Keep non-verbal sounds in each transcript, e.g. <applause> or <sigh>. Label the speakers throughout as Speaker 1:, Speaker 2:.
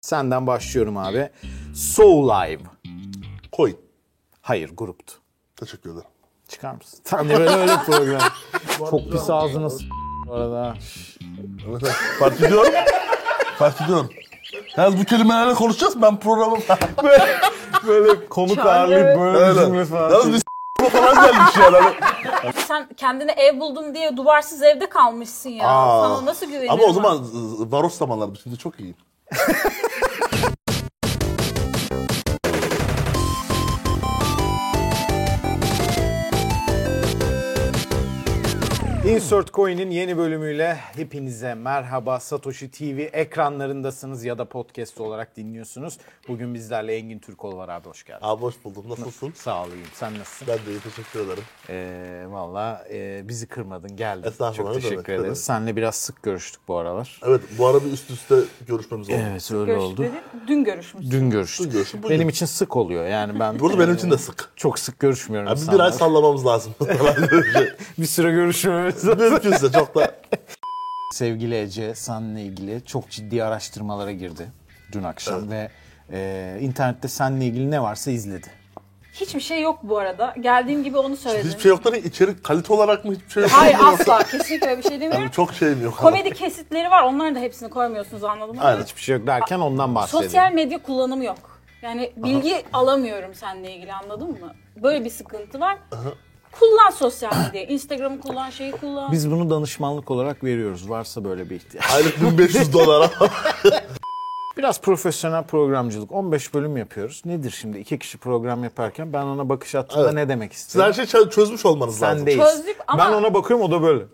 Speaker 1: Senden başlıyorum abi. Soul Live.
Speaker 2: Coin.
Speaker 1: Hayır gruptu.
Speaker 2: Teşekkür ederim.
Speaker 1: Çıkar mısın? <laughs> Tam da böyle öyle program. Çok pis ağzını s- bu arada.
Speaker 2: Evet, evet. Fark ediyorum. Fark ediyorum. Yalnız bu kelimelerle konuşacağız. Ben programı
Speaker 1: <laughs>
Speaker 2: böyle, böyle konuk
Speaker 3: ağırlayıp
Speaker 2: böyle Öyle. Yalnız bir s**tme falan gelmiş yani. Hani-
Speaker 3: Sen kendine ev buldun diye duvarsız evde kalmışsın ya.
Speaker 2: Aa.
Speaker 3: Sana nasıl güvenirim?
Speaker 2: Ama o zaman ı, varoş zamanlardı. Şimdi çok iyiyim.
Speaker 1: Insert Coin'in yeni bölümüyle hepinize merhaba. Satoshi TV ekranlarındasınız ya da podcast olarak dinliyorsunuz. Bugün bizlerle Engin Türkol var abi hoş geldin.
Speaker 2: Abi hoş buldum. Nasılsın?
Speaker 1: Sağ olayım. Sen nasılsın?
Speaker 2: Ben de iyi. Teşekkür ederim.
Speaker 1: Ee, Valla e, bizi kırmadın geldin.
Speaker 2: Estağfurullah,
Speaker 1: Çok
Speaker 2: ne demek,
Speaker 1: teşekkür
Speaker 2: ne demek.
Speaker 1: ederiz. Seninle biraz sık görüştük bu aralar.
Speaker 2: Evet bu ara bir üst üste görüşmemiz oldu.
Speaker 1: Evet öyle oldu.
Speaker 3: Görüşmedi. Dün görüşmüş.
Speaker 1: Dün görüştük.
Speaker 2: Dün görüştük, bugün.
Speaker 1: Benim için sık oluyor yani ben.
Speaker 2: <laughs>
Speaker 1: e,
Speaker 2: Burada benim için de sık.
Speaker 1: Çok sık görüşmüyorum
Speaker 2: Yani bir, bir
Speaker 1: insanlarla.
Speaker 2: ay sallamamız lazım. <laughs> şey.
Speaker 1: Bir süre görüşmemiz.
Speaker 2: Mümkünse çok da.
Speaker 1: <laughs> Sevgili Ece, seninle ilgili çok ciddi araştırmalara girdi dün akşam ve e, internette seninle ilgili ne varsa izledi.
Speaker 3: Hiçbir şey yok bu arada. Geldiğim gibi onu söyledim.
Speaker 2: Hiçbir şey yoktan içerik kalite olarak mı hiçbir şey yok?
Speaker 3: Hayır asla. Kesinlikle öyle bir şey demiyorum.
Speaker 2: Yani çok şeyim yok.
Speaker 3: Komedi kesitleri var. Onların da hepsini koymuyorsunuz anladın mı?
Speaker 2: Aynen.
Speaker 1: Hiçbir şey yok derken ondan bahsediyor.
Speaker 3: Sosyal medya kullanımı yok. Yani bilgi alamıyorum seninle ilgili anladın mı? Böyle bir sıkıntı var. Kullan sosyal medyayı. Instagram'ı kullan, şeyi kullan.
Speaker 1: Biz bunu danışmanlık olarak veriyoruz varsa böyle bir ihtiyaç. <laughs>
Speaker 2: Aylık 1500
Speaker 3: <laughs>
Speaker 2: dolara.
Speaker 1: Biraz profesyonel programcılık. 15 bölüm yapıyoruz. Nedir şimdi iki kişi program yaparken ben ona bakış attığımda
Speaker 2: Evet.
Speaker 1: ne demek
Speaker 2: Siz her
Speaker 1: istiyorum?
Speaker 2: şeyi çö- çözmüş olmanız lazım.
Speaker 1: Sen değil.
Speaker 3: Çözdük ama-
Speaker 1: Ben ona bakıyorum o da böyle.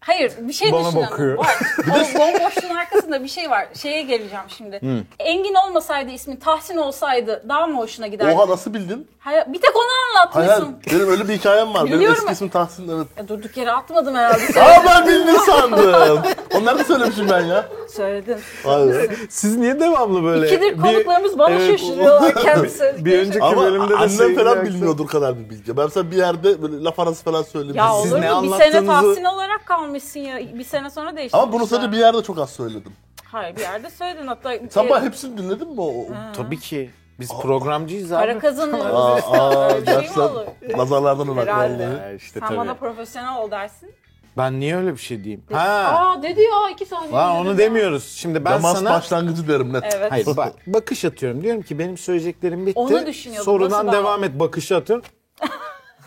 Speaker 3: Hayır bir şey
Speaker 1: Bana
Speaker 3: düşünelim.
Speaker 1: bakıyor. <laughs>
Speaker 3: Var. O bomboşluğun arkasında bir şey var. Şeye geleceğim şimdi. Engin olmasaydı ismi Tahsin olsaydı daha mı hoşuna giderdi?
Speaker 2: Oha nasıl bildin?
Speaker 3: Hayır, bir tek onu
Speaker 2: Hayır,
Speaker 3: anlatmışsın.
Speaker 2: benim öyle bir hikayem var. Benim
Speaker 3: Biliyorum
Speaker 2: eski
Speaker 3: ben.
Speaker 2: ismim Tahsin evet.
Speaker 3: Ya durduk yere atmadım
Speaker 1: <laughs>
Speaker 3: herhalde.
Speaker 2: Aa ben bildin sandım. Onları da söylemişim ben ya.
Speaker 3: Söyledin.
Speaker 2: Hayır.
Speaker 1: Siz niye devamlı böyle?
Speaker 3: İkidir
Speaker 1: Bir-
Speaker 3: konuklarımız bana
Speaker 1: Evet,
Speaker 3: şaşırıyorlar <laughs> kendisi.
Speaker 1: <laughs> Bir önceki
Speaker 2: Ama
Speaker 1: bölümde de şey
Speaker 2: annem
Speaker 1: sevgili
Speaker 2: falan
Speaker 1: Aksa-
Speaker 2: bilmiyordur kadar bir bilgi. Ben mesela bir yerde böyle laf arası falan söylemişim.
Speaker 3: Ya
Speaker 1: Siz
Speaker 3: olur
Speaker 1: ne
Speaker 3: mu? Bir sene
Speaker 1: anlattığınızı-
Speaker 3: Tahsin olarak kalmışsın ya. Bir sene sonra değişti.
Speaker 2: Ama bunu sadece bir yerde çok az söyledim.
Speaker 3: Hayır bir yerde
Speaker 1: <laughs>
Speaker 3: söyledin hatta. e,
Speaker 2: Sabah hepsini dinledin mi? O, o-
Speaker 1: Tabii ki. Biz programcıyız abi.
Speaker 3: Para kazanıyoruz.
Speaker 2: aa,
Speaker 3: Öyle <laughs> şey mi
Speaker 2: gerçekten
Speaker 3: olur?
Speaker 2: nazarlardan uzak
Speaker 3: Herhalde.
Speaker 2: oldu.
Speaker 1: Ha, işte
Speaker 3: Sen
Speaker 1: tabii.
Speaker 3: bana profesyonel ol dersin.
Speaker 1: Ben niye öyle bir şey diyeyim? Ha.
Speaker 3: Aa dedi ya iki saniye.
Speaker 1: Lan
Speaker 3: dedi
Speaker 1: onu
Speaker 3: ya.
Speaker 1: demiyoruz. Şimdi ben
Speaker 2: Demans
Speaker 1: sana
Speaker 2: başlangıcı derim net.
Speaker 3: Evet.
Speaker 1: Hayır bak bakış atıyorum. Diyorum ki benim söyleyeceklerim bitti.
Speaker 3: Onu düşünüyordum.
Speaker 1: Sorudan
Speaker 3: Nasıl
Speaker 1: devam et bakışı atıyorum.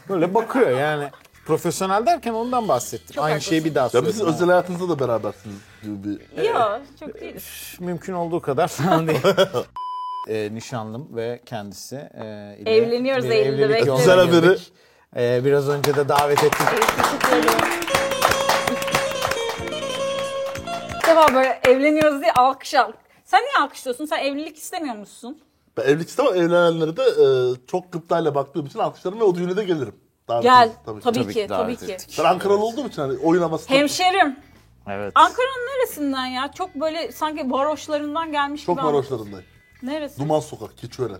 Speaker 1: Böyle bakıyor yani. Profesyonel derken ondan bahsettim.
Speaker 3: Çok
Speaker 1: Aynı
Speaker 3: haklısın.
Speaker 1: şeyi bir daha
Speaker 2: <laughs> Ya
Speaker 1: söyledim.
Speaker 2: biz özel hayatınızda da berabersiniz gibi bir
Speaker 3: Yok çok değil.
Speaker 1: Mümkün olduğu kadar <laughs> falan değil. Ee, nişanlım ve kendisi. e, ile
Speaker 3: Evleniyoruz
Speaker 1: bir
Speaker 3: Eylül'de,
Speaker 1: evlilik
Speaker 3: bekliyoruz.
Speaker 1: yoluna
Speaker 2: Güzel
Speaker 1: girdik.
Speaker 2: haberi.
Speaker 1: Ee, biraz önce de davet ettik.
Speaker 3: Teşekkür ederim. İlk defa böyle evleniyoruz diye alkış al. Sen niye alkışlıyorsun? Sen evlilik istemiyor musun?
Speaker 2: Ben evlilik istemem. Evlenenlere de e, çok gıptayla baktığım için alkışlarım ve o düğüne de gelirim. Davet
Speaker 3: Gel.
Speaker 2: edin,
Speaker 3: Tabii,
Speaker 2: ki.
Speaker 1: Tabii
Speaker 3: ki,
Speaker 1: ki
Speaker 3: tabii
Speaker 1: davet
Speaker 3: ki.
Speaker 1: ettik.
Speaker 2: Ben Ankaralı olduğum için hani oynaması da
Speaker 3: Hemşerim.
Speaker 1: Evet.
Speaker 3: Ankara'nın neresinden ya? Çok böyle sanki varoşlarından gelmiş
Speaker 2: çok
Speaker 3: gibi. an-
Speaker 2: varoşlarındayım.
Speaker 3: Neresi?
Speaker 2: Duman Sokak, Keçiören.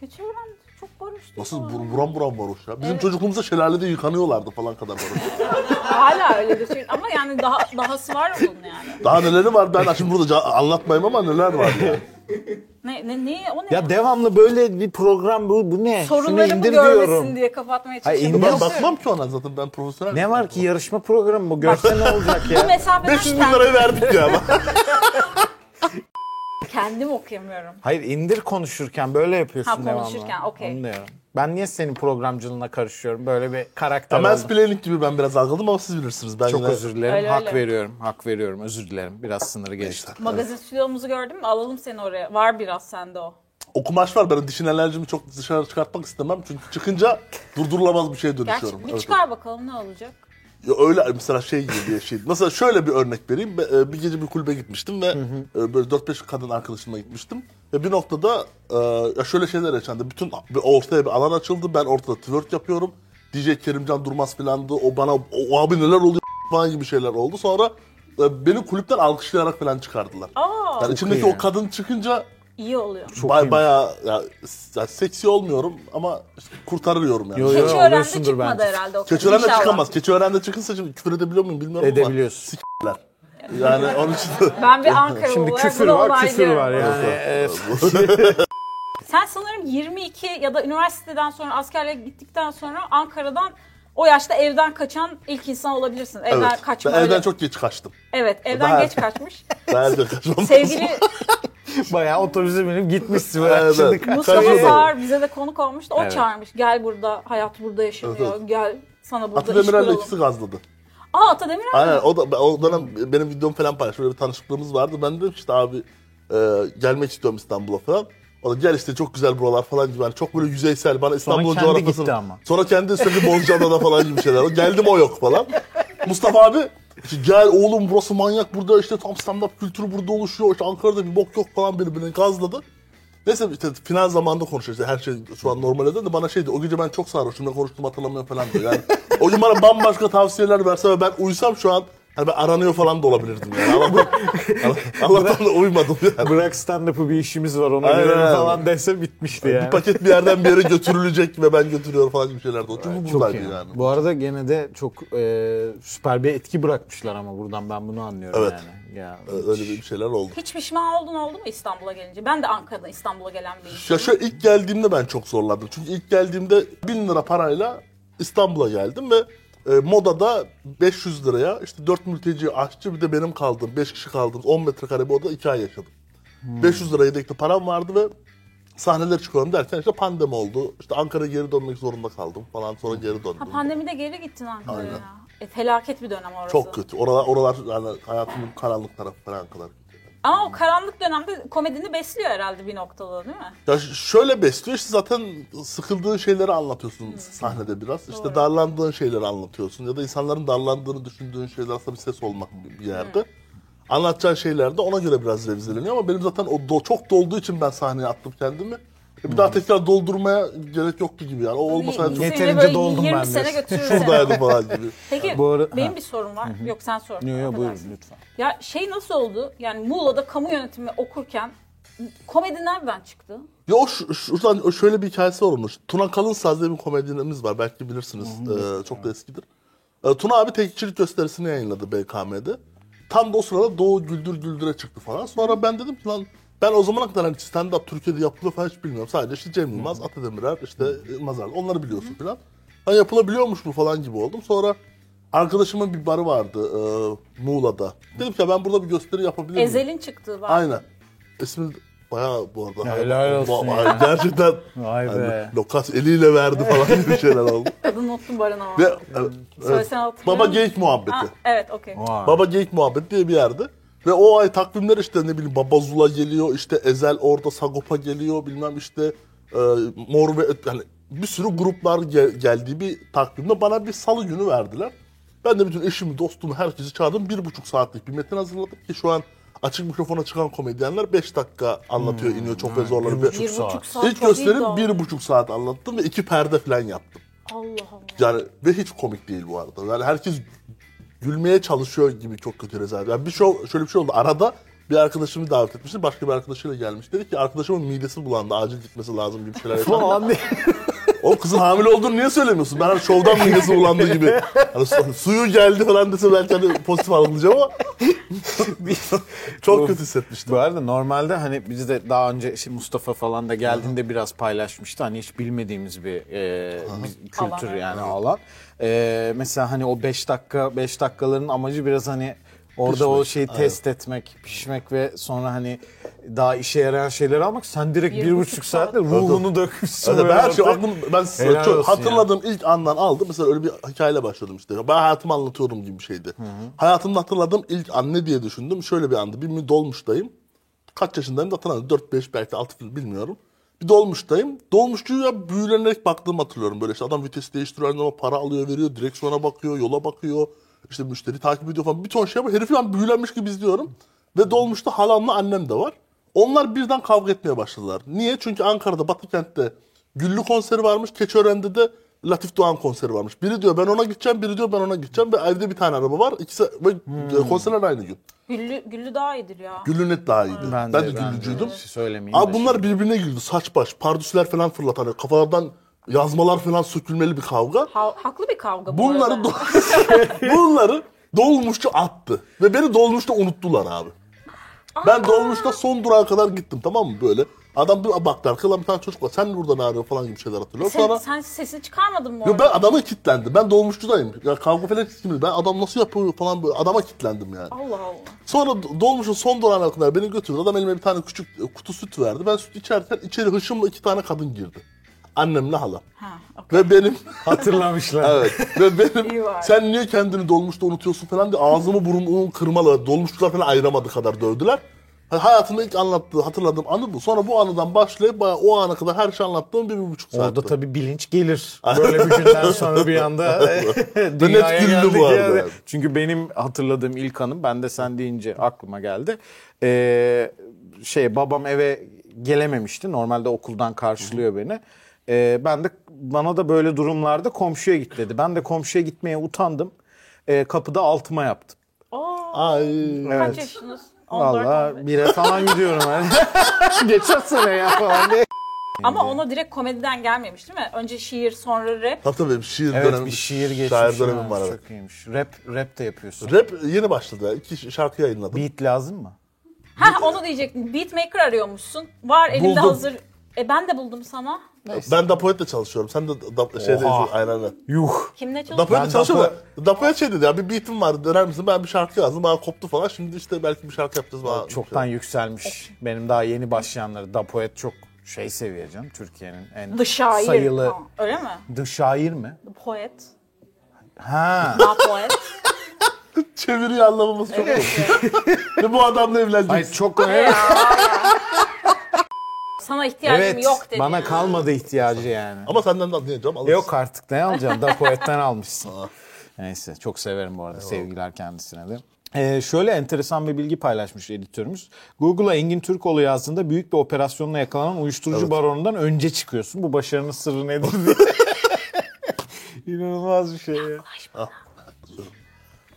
Speaker 3: Keçiören çok varoş. değil
Speaker 2: Nasıl
Speaker 3: mi?
Speaker 2: bur- buram buram varoş ya. Bizim çocukluğumuzda şelalede yıkanıyorlardı falan kadar varoş.
Speaker 3: Hala öyle düşün. Ama yani daha dahası var bunun yani.
Speaker 2: Daha neleri var ben şimdi burada ca- anlatmayayım ama neler var ya.
Speaker 3: Ne, ne, ne, o ne?
Speaker 1: Ya devamlı böyle bir program bu, bu ne? Şunu
Speaker 3: Sorunlarımı
Speaker 1: indir
Speaker 3: görmesin
Speaker 1: diyorum.
Speaker 3: diye kapatmaya
Speaker 1: Hayır,
Speaker 3: çalışıyorum.
Speaker 1: indir-
Speaker 2: Ben
Speaker 1: Nasıl?
Speaker 2: bakmam ki ona zaten ben profesyonel.
Speaker 1: Ne var ki yarışma programı bu? Görse ne olacak
Speaker 3: Bu
Speaker 1: ya?
Speaker 3: mesafeden
Speaker 2: 500 bin lirayı
Speaker 1: <laughs>
Speaker 2: verdik ya ama.
Speaker 3: kendim okuyamıyorum.
Speaker 1: Hayır indir konuşurken böyle yapıyorsun
Speaker 3: Ha,
Speaker 1: devamlı.
Speaker 3: konuşurken, okey.
Speaker 1: Onu diyorum. Ben niye senin programcılığına karışıyorum? Böyle bir karakter
Speaker 2: Ya ben
Speaker 1: oldum.
Speaker 2: Splenic gibi ben biraz algıladım ama siz bilirsiniz. Ben
Speaker 1: Çok
Speaker 2: yine-
Speaker 1: özür dilerim.
Speaker 3: Öyle,
Speaker 1: hak
Speaker 3: öyle.
Speaker 1: veriyorum. Hak veriyorum. Özür dilerim. Biraz sınırı geçti.
Speaker 3: Magazin stüdyomuzu gördün mü? Alalım seni oraya. Var biraz sende o.
Speaker 2: O kumaş var benim dişin alerjimi çok dışarı çıkartmak istemem. Çünkü çıkınca durdurulamaz bir şeye dönüşüyorum.
Speaker 3: Gerçi bir
Speaker 2: Evet.
Speaker 3: çıkar bakalım ne olacak.
Speaker 2: Ya öyle mesela şey gibi bir şey. Mesela şöyle bir örnek vereyim. Ben, e, Bir gece bir kulübe gitmiştim ve e, böyle 4-5 kadın arkadaşımla gitmiştim. Ve bir noktada e, ya şöyle şeyler yaşandı. Bütün bir ortaya bir alan açıldı. Ben ortada twerk yapıyorum. DJ Kerimcan Durmaz filandı. O bana o, o abi neler oluyor falan gibi şeyler oldu. Sonra e, beni kulüpten alkışlayarak falan çıkardılar.
Speaker 3: Aa
Speaker 2: Yani içimdeki
Speaker 1: iyi.
Speaker 2: o kadın çıkınca
Speaker 3: iyi oluyor.
Speaker 2: bay, bayağı ya, s- ya seksi olmuyorum ama kurtarıyorum yani.
Speaker 1: Yo, yo.
Speaker 3: Keçiören'de
Speaker 1: oluyorsundur
Speaker 3: çıkmadı
Speaker 1: bence.
Speaker 3: herhalde o kadar.
Speaker 2: Keçören de
Speaker 3: İnşallah.
Speaker 2: çıkamaz. Keçören de çıkınsa şimdi küfür edebiliyor muyum bilmiyorum ama.
Speaker 1: Edebiliyorsun.
Speaker 2: s**ler. Yani onun için
Speaker 3: Ben bir Ankara
Speaker 1: Şimdi
Speaker 3: olarak
Speaker 1: küfür
Speaker 3: bunu
Speaker 1: var, küfür
Speaker 3: onaylıyorum.
Speaker 1: var yani. e,
Speaker 3: Sen sanırım 22 ya da üniversiteden sonra askerliğe gittikten sonra Ankara'dan o yaşta evden kaçan ilk insan olabilirsin. Evden
Speaker 2: evet.
Speaker 3: kaçma.
Speaker 2: Ben evden
Speaker 3: öyle-
Speaker 2: çok geç kaçtım.
Speaker 3: Evet, evden
Speaker 2: Daha-
Speaker 3: geç kaçmış. <laughs>
Speaker 2: Ben evden kaçmam.
Speaker 3: Sevgili
Speaker 1: <laughs> Bayağı otobüse binip gitmişsin. böyle.
Speaker 2: Evet,
Speaker 1: Şimdi
Speaker 2: evet.
Speaker 1: kaç-
Speaker 3: Mustafa
Speaker 2: Tabii.
Speaker 3: Sağır bize de konuk olmuştu. O
Speaker 1: Evet.
Speaker 3: çağırmış. Gel burada, hayat burada yaşanıyor.
Speaker 2: Evet, evet.
Speaker 3: Gel sana burada
Speaker 2: Atı
Speaker 3: iş
Speaker 2: Demirel'le
Speaker 3: kuralım.
Speaker 2: ikisi gazladı.
Speaker 3: Aa Ata Demirer mi?
Speaker 2: Aynen o da o dönem benim videomu falan paylaştı. Böyle bir tanışıklığımız vardı. Ben dedim ki işte abi e, gelmek istiyorum İstanbul'a falan. O da gel işte çok güzel buralar falan gibi. Yani çok böyle yüzeysel bana İstanbul'un
Speaker 1: kendi
Speaker 2: coğrafyasını.
Speaker 1: gitti ama.
Speaker 2: Sonra kendi sürekli Bozcaada'da falan gibi şeyler. Geldim o yok falan. Mustafa abi işte gel oğlum burası manyak burada işte tam stand up kültürü burada oluşuyor. İşte Ankara'da bir bok yok falan beni beni gazladı. Neyse işte final zamanında konuşuyor işte her şey şu an normale döndü. Bana şeydi o gece ben çok sarhoşum ne konuştum hatırlamıyorum falan diyor. Yani o gün bana bambaşka tavsiyeler verse ve ben uysam şu an hani ben aranıyor falan da olabilirdim yani.
Speaker 1: <laughs>
Speaker 2: Ama Allah'tan da uymadım yani.
Speaker 1: Bırak stand-up'ı bir işimiz var ona
Speaker 2: Aynen,
Speaker 1: göre
Speaker 2: aynen.
Speaker 1: falan dese bitmişti yani.
Speaker 2: Bir paket bir yerden bir yere götürülecek ve ben götürüyorum falan gibi şeyler de o. Çünkü
Speaker 1: Çok
Speaker 2: buradaydı
Speaker 1: iyi.
Speaker 2: yani.
Speaker 1: Bu arada gene de çok e, süper bir etki bırakmışlar ama buradan ben bunu anlıyorum
Speaker 2: Evet.
Speaker 1: yani. Ya,
Speaker 2: Öyle bir şeyler oldu.
Speaker 3: Hiç pişman oldun oldu mu İstanbul'a gelince? Ben de Ankara'dan İstanbul'a gelen bir
Speaker 2: Ya
Speaker 3: insanım.
Speaker 2: şöyle ilk geldiğimde ben çok zorlandım. Çünkü ilk geldiğimde 1000 lira parayla İstanbul'a geldim ve e, modada 500 liraya işte 4 mülteci aşçı bir de benim kaldığım 5 kişi kaldığımız 10 metrekare bir odada 2 ay yaşadım. 500 lira yedekli param vardı ve sahneler çıkıyorum derken işte pandemi oldu. İşte Ankara'ya geri dönmek zorunda kaldım falan sonra geri döndüm.
Speaker 3: Ha, pandemide geri gittin Ankara'ya.
Speaker 2: Aynen.
Speaker 3: E, felaket bir dönem orası.
Speaker 2: çok kötü. Oralar, oralar yani hayatımın karanlık tarafı falan kadar kötü.
Speaker 3: Ama o karanlık dönemde komedini besliyor herhalde bir noktada değil mi?
Speaker 2: Ya ş- şöyle besliyor işte zaten sıkıldığın şeyleri anlatıyorsun sahnede biraz. İşte
Speaker 3: Doğru.
Speaker 2: darlandığın şeyleri anlatıyorsun ya da insanların darlandığını düşündüğün şeyler aslında bir ses olmak bir- bir yerde. Anlatacağın şeyler de ona göre biraz revizeleniyor ama benim zaten o do- çok dolduğu için ben sahneye attım kendimi. E Bir daha tekrar doldurmaya gerek yoktu gibi yani. O olmasaydı çok
Speaker 3: İkisiyle
Speaker 1: Yeterince
Speaker 3: Hani böyle
Speaker 1: doldum
Speaker 3: 20
Speaker 1: ben
Speaker 3: sene
Speaker 1: diyorsun.
Speaker 3: götürür seni.
Speaker 2: şuradaydı falan gibi.
Speaker 3: Peki
Speaker 1: Bu ara-
Speaker 3: benim
Speaker 1: Ha.
Speaker 3: bir sorum var. Yok sen sor.
Speaker 1: Yo, yo, buyurun
Speaker 3: Affedersin.
Speaker 1: lütfen.
Speaker 3: Ya şey nasıl oldu? Yani Muğla'da kamu yönetimi okurken komedi nereden çıktı?
Speaker 2: Ya o şu- şuradan o şöyle bir hikayesi var onun. Tuna Kalın diye bir komedyenimiz var. Belki bilirsiniz. Ee, çok da eskidir. Ee, Tuna abi tekçilik gösterisini yayınladı BKM'de. Tam da o sırada Doğu Güldür Güldür'e çıktı falan. Sonra ben dedim ki lan ben o zamana kadar hani stand-up Türkiye'de yapılıyor falan hiç bilmiyorum. Sadece işte Cem Yılmaz, Atademirer, işte Mazarlı onları biliyorsun falan. Hani yapılabiliyormuş mu falan gibi oldum. Sonra arkadaşımın bir barı vardı e, Muğla'da. Dedim ki ya ben burada bir gösteri yapabilir miyim?
Speaker 3: Ezel'in çıktığı var.
Speaker 2: Aynen. İsmi bayağı bu arada.
Speaker 1: Ya helal olsun
Speaker 2: Ba-
Speaker 1: ya.
Speaker 2: Gerçekten
Speaker 1: Vay
Speaker 2: yani
Speaker 1: be.
Speaker 2: Lokas eliyle verdi falan gibi şeyler oldu.
Speaker 3: Kadın unuttum barın ama.
Speaker 2: Ve evet,
Speaker 3: Söylesen hatırlıyorum.
Speaker 2: Baba Geyik muhabbeti.
Speaker 3: Ha, evet okey.
Speaker 1: Vay.
Speaker 2: Baba Geyik muhabbeti diye bir yerde. Ve o ay takvimler işte ne bileyim Baba Zula geliyor, işte Ezel orada Sagopa geliyor, bilmem işte e, Mor ve Öt, yani bir sürü gruplar gel- geldiği bir takvimde bana bir salı günü verdiler. Ben de bütün eşimi, dostumu, herkesi çağırdım. Bir buçuk saatlik bir metin hazırladım ki şu an açık mikrofona çıkan komedyenler 5 dakika anlatıyor, iniyor çok ve zorlanıyor.
Speaker 1: Hmm. bir buçuk
Speaker 3: Bir
Speaker 1: saat.
Speaker 3: buçuk saat.
Speaker 2: İlk
Speaker 3: çok iyi
Speaker 2: gösterim
Speaker 3: daldı.
Speaker 2: bir buçuk saat anlattım ve iki perde falan yaptım.
Speaker 3: Allah Allah.
Speaker 2: Yani ve hiç komik değil bu arada. Yani herkes gülmeye çalışıyor gibi çok kötü rezalet. Yani bir şey, şöyle bir şey oldu. Arada bir arkadaşımı davet etmişti. Başka bir arkadaşıyla gelmiş. Dedi ki arkadaşımın midesi bulandı. Acil gitmesi lazım gibi şeyler yapar.
Speaker 1: Falan diye.
Speaker 2: o kızın hamile olduğunu niye söylemiyorsun? Ben hani şovdan midesi bulandı gibi. Hani su- suyu geldi falan dese belki hani pozitif algılayacağım ama <laughs> çok kötü hissetmiştim.
Speaker 1: Bu arada normalde hani biz de daha önce şimdi Mustafa falan da geldiğinde biraz paylaşmıştı. Hani hiç bilmediğimiz bir e, bir kültür
Speaker 3: Alan.
Speaker 1: yani alan. E, mesela hani o 5 dakika 5 dakikaların amacı biraz hani orada o şeyi test etmek, pişmek ve sonra hani daha işe yarayan şeyleri almak. Sen direkt
Speaker 3: Bir
Speaker 1: bir
Speaker 3: buçuk
Speaker 1: buçuk
Speaker 3: saat.
Speaker 1: saatte ruhunu dökmüşsün.
Speaker 2: Yani ben
Speaker 1: böyle
Speaker 2: her şey
Speaker 1: ortaya.
Speaker 2: aklım ben s-
Speaker 1: Helal
Speaker 2: çok
Speaker 1: olsun
Speaker 2: hatırladığım ilk andan aldım. Mesela öyle bir hikayeyle başladım işte. Ben hayatımı anlatıyorum gibi bir şeydi. Hayatımda hatırladığım ilk an ne diye düşündüm. Şöyle bir anda bir mi dolmuştayım. Kaç yaşındayım da hatırlamıyorum. 4 5 belki 6 bilmiyorum. Bir dolmuştayım. Dolmuşçuya büyülenerek baktığımı hatırlıyorum. Böyle işte adam vites değiştiriyor ama para alıyor veriyor. Direksiyona bakıyor, yola bakıyor. İşte müşteri takip ediyor falan. Bir ton şey var. Herifi ben büyülenmiş gibi izliyorum. Ve dolmuşta halamla annem de var. Onlar birden kavga etmeye başladılar. Niye? Çünkü Ankara'da Batıkent'te Güllü konseri varmış. Keçiören'de de Latif Doğan konseri varmış. Biri diyor ben ona gideceğim, biri diyor ben ona gideceğim. Ve evde bir tane araba var. İkisi ve e, konserler aynı gün.
Speaker 3: Güllü, Güllü daha iyidir ya.
Speaker 2: Güllü net daha iyiydi. Ben, de,
Speaker 1: ben
Speaker 2: Güllücüydüm.
Speaker 1: de şey söylemeyeyim. de
Speaker 2: Abi bunlar birbirine girdi. Saç baş, pardüsler falan fırlatan, yani kafalardan yazmalar falan sökülmeli bir kavga.
Speaker 3: Ha- haklı bir kavga bu
Speaker 2: Bunları
Speaker 3: arada.
Speaker 2: do- <laughs> bunları dolmuşçu attı. Ve beni dolmuşta unuttular abi. Ben dolmuşta son durağa kadar gittim tamam mı böyle. Adam bir baktı arkada bir tane çocuk var. Sen buradan ağrıyor falan gibi şeyler hatırlıyor.
Speaker 3: Sen,
Speaker 2: Sonra
Speaker 3: sen sesini çıkarmadın mı
Speaker 2: Yo,
Speaker 3: orada?
Speaker 2: ben adama kilitlendim. Ben dolmuşçudayım. Ya kavga falan ettim. Ben adam nasıl yapıyor falan böyle adama kilitlendim yani.
Speaker 3: Allah Allah.
Speaker 2: Sonra do- dolmuşun son durağına kadar beni götürdü. Adam elime bir tane küçük e, kutu süt verdi. Ben süt içerken içeri hışımla iki tane kadın girdi. Annemle halam.
Speaker 3: Ha, okey.
Speaker 2: Ve benim <laughs>
Speaker 1: <laughs> Hatırlamışlar.
Speaker 2: evet ve
Speaker 3: İyi
Speaker 2: benim
Speaker 3: var.
Speaker 2: sen niye kendini dolmuşta unutuyorsun falan diye ağzımı burnumu kırmalı. Dolmuşçular falan ayıramadı kadar dövdüler. Ha- Hayatımda ilk anlattığı, hatırladığım anı bu. Sonra bu anıdan başlayıp bayağı o ana kadar her şey anlattığım bir, bir buçuk saat.
Speaker 1: Orada tabii bilinç
Speaker 2: <laughs>
Speaker 1: gelir. Böyle bir günden sonra bir anda <laughs> dünyaya
Speaker 2: Net güldü
Speaker 1: geldik
Speaker 2: bu arada
Speaker 1: yani.
Speaker 2: yani.
Speaker 1: Çünkü benim hatırladığım ilk anım ben de sen deyince aklıma geldi. Ee, şey babam eve gelememişti. Normalde okuldan karşılıyor beni. Ee, ben de bana da böyle durumlarda komşuya git dedi. Ben de komşuya gitmeye utandım. Ee, kapıda altıma yaptım.
Speaker 3: Aa,
Speaker 2: Ay.
Speaker 3: kaç
Speaker 1: Evet.
Speaker 3: yaşınız? 14
Speaker 1: Valla
Speaker 3: olmuş.
Speaker 1: bire falan gidiyorum. hani. <laughs> Geçen sene ya falan diye.
Speaker 3: Ama ona direkt komediden gelmemiş değil mi? Önce şiir sonra rap.
Speaker 2: Hatta benim şiir
Speaker 1: Evet
Speaker 2: dönemim,
Speaker 1: bir şiir geçmiş.
Speaker 2: şair dönemim
Speaker 1: Ha,
Speaker 2: var. evet.
Speaker 1: Çok iyiymiş. Rap, rap de yapıyorsun.
Speaker 2: Rap yeni başladı. ya. İki ş- şarkı yayınladım.
Speaker 1: Beat lazım mı?
Speaker 3: Ha onu diyecektim. Beatmaker arıyormuşsun. Var elinde
Speaker 2: Buldum.
Speaker 3: hazır. E ben de buldum sana.
Speaker 2: Ben Dapoet'le çalışıyorum. Sen de da, şeyde
Speaker 1: Oha.
Speaker 2: aynen öyle.
Speaker 1: Yuh.
Speaker 3: Kimle çalışıyorsun?
Speaker 1: Ben
Speaker 2: Dapoet'le çalışıyorum. da Dapoet şey dedi ya bir beatim var döner misin? Ben bir şarkı yazdım. Bana koptu falan. Şimdi işte belki bir şarkı yapacağız. Şey. Bana
Speaker 1: Çoktan yükselmiş. Benim daha yeni başlayanları. Da Poet çok şey seviye canım. Türkiye'nin en
Speaker 3: The Şair.
Speaker 1: sayılı.
Speaker 3: Ha, öyle mi?
Speaker 1: The Şair mi?
Speaker 3: The Poet.
Speaker 1: Ha.
Speaker 3: Daha poet.
Speaker 2: Çeviriyi anlamaması çok zor. <laughs> Ve bu adamla
Speaker 1: Ay
Speaker 2: evleneceksin.
Speaker 1: çok <laughs> evet.
Speaker 3: Sana ihtiyacım
Speaker 1: evet.
Speaker 3: yok dedi.
Speaker 1: Bana kalmadı ihtiyacı yani.
Speaker 2: Ama senden de anlayacağım. alırsın.
Speaker 1: Yok artık ne alacaksın? <laughs> Da Poet'ten almışsın. Neyse çok severim bu arada. Sevgiler kendisine de. Ee, şöyle enteresan bir bilgi paylaşmış editörümüz. Google'a Engin Türkoğlu yazdığında büyük bir operasyonla yakalanan uyuşturucu baronundan önce çıkıyorsun. Bu başarının sırrı nedir diye. <laughs> İnanılmaz bir şey ya.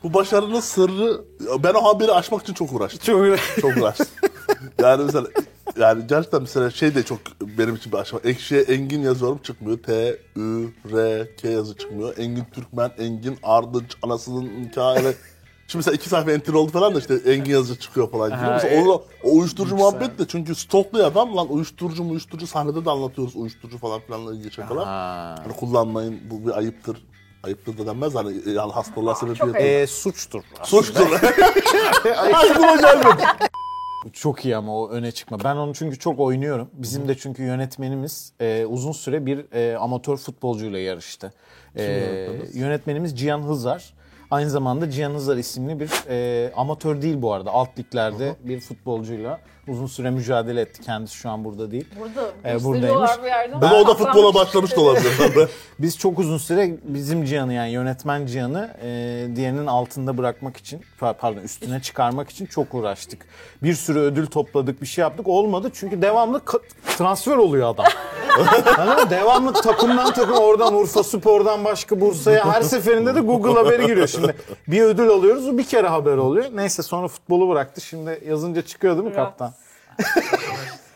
Speaker 2: Bu başarının sırrı ben o haberi aşmak için çok uğraştım.
Speaker 1: Çok
Speaker 2: Çok uğraştım. yani mesela yani gerçekten mesela şey de çok benim için bir aşama. Ekşiye Engin yazıyorum çıkmıyor. T, Ü, R, K yazı çıkmıyor. Engin Türkmen, Engin Ardıç, anasının hikayeleri. Şimdi mesela iki sayfa enter oldu falan da işte Engin yazıcı çıkıyor falan gibi.
Speaker 1: Ha,
Speaker 2: Mesela
Speaker 1: e-
Speaker 2: o, o uyuşturucu muhabbet de çünkü stoklu adam lan uyuşturucu uyuşturucu sahnede de anlatıyoruz uyuşturucu falan filanla ilgili şakalar.
Speaker 1: Ha.
Speaker 2: Hani kullanmayın bu bir ayıptır. Ayıptır da denmez hani e, yani hastalığa sebebiyet. olur.
Speaker 1: Ee, suçtur.
Speaker 2: Suçtur. Aklıma gelmedi.
Speaker 1: Çok iyi ama o öne çıkma. Ben onu çünkü çok oynuyorum. Bizim de çünkü yönetmenimiz e, uzun süre bir e, amatör futbolcuyla yarıştı. E, yönetmenimiz Cihan Hızar. Aynı zamanda Cihan Hızar isimli bir e, amatör değil bu arada. Alt liglerde bir futbolcuyla uzun süre mücadele etti. Kendisi şu an burada değil.
Speaker 3: Burada.
Speaker 1: Ee,
Speaker 3: Ee,
Speaker 1: buradaymış.
Speaker 3: Bir yerden.
Speaker 2: Ama <laughs> o da futbola başlamış da olabilir. tabii.
Speaker 1: Biz çok uzun süre bizim Cihan'ı yani yönetmen Cihan'ı e, diğerinin altında bırakmak için pa- pardon üstüne çıkarmak için çok uğraştık. Bir sürü ödül topladık bir şey yaptık olmadı çünkü devamlı ka- transfer oluyor adam. <laughs> Anladın mı? Devamlı takımdan takım oradan Urfa Spor'dan başka Bursa'ya her seferinde de Google haberi giriyor şimdi. Bir ödül alıyoruz o bir kere haber oluyor. Neyse sonra futbolu bıraktı şimdi yazınca çıkıyor değil mi
Speaker 3: Biraz.
Speaker 1: kaptan? <laughs>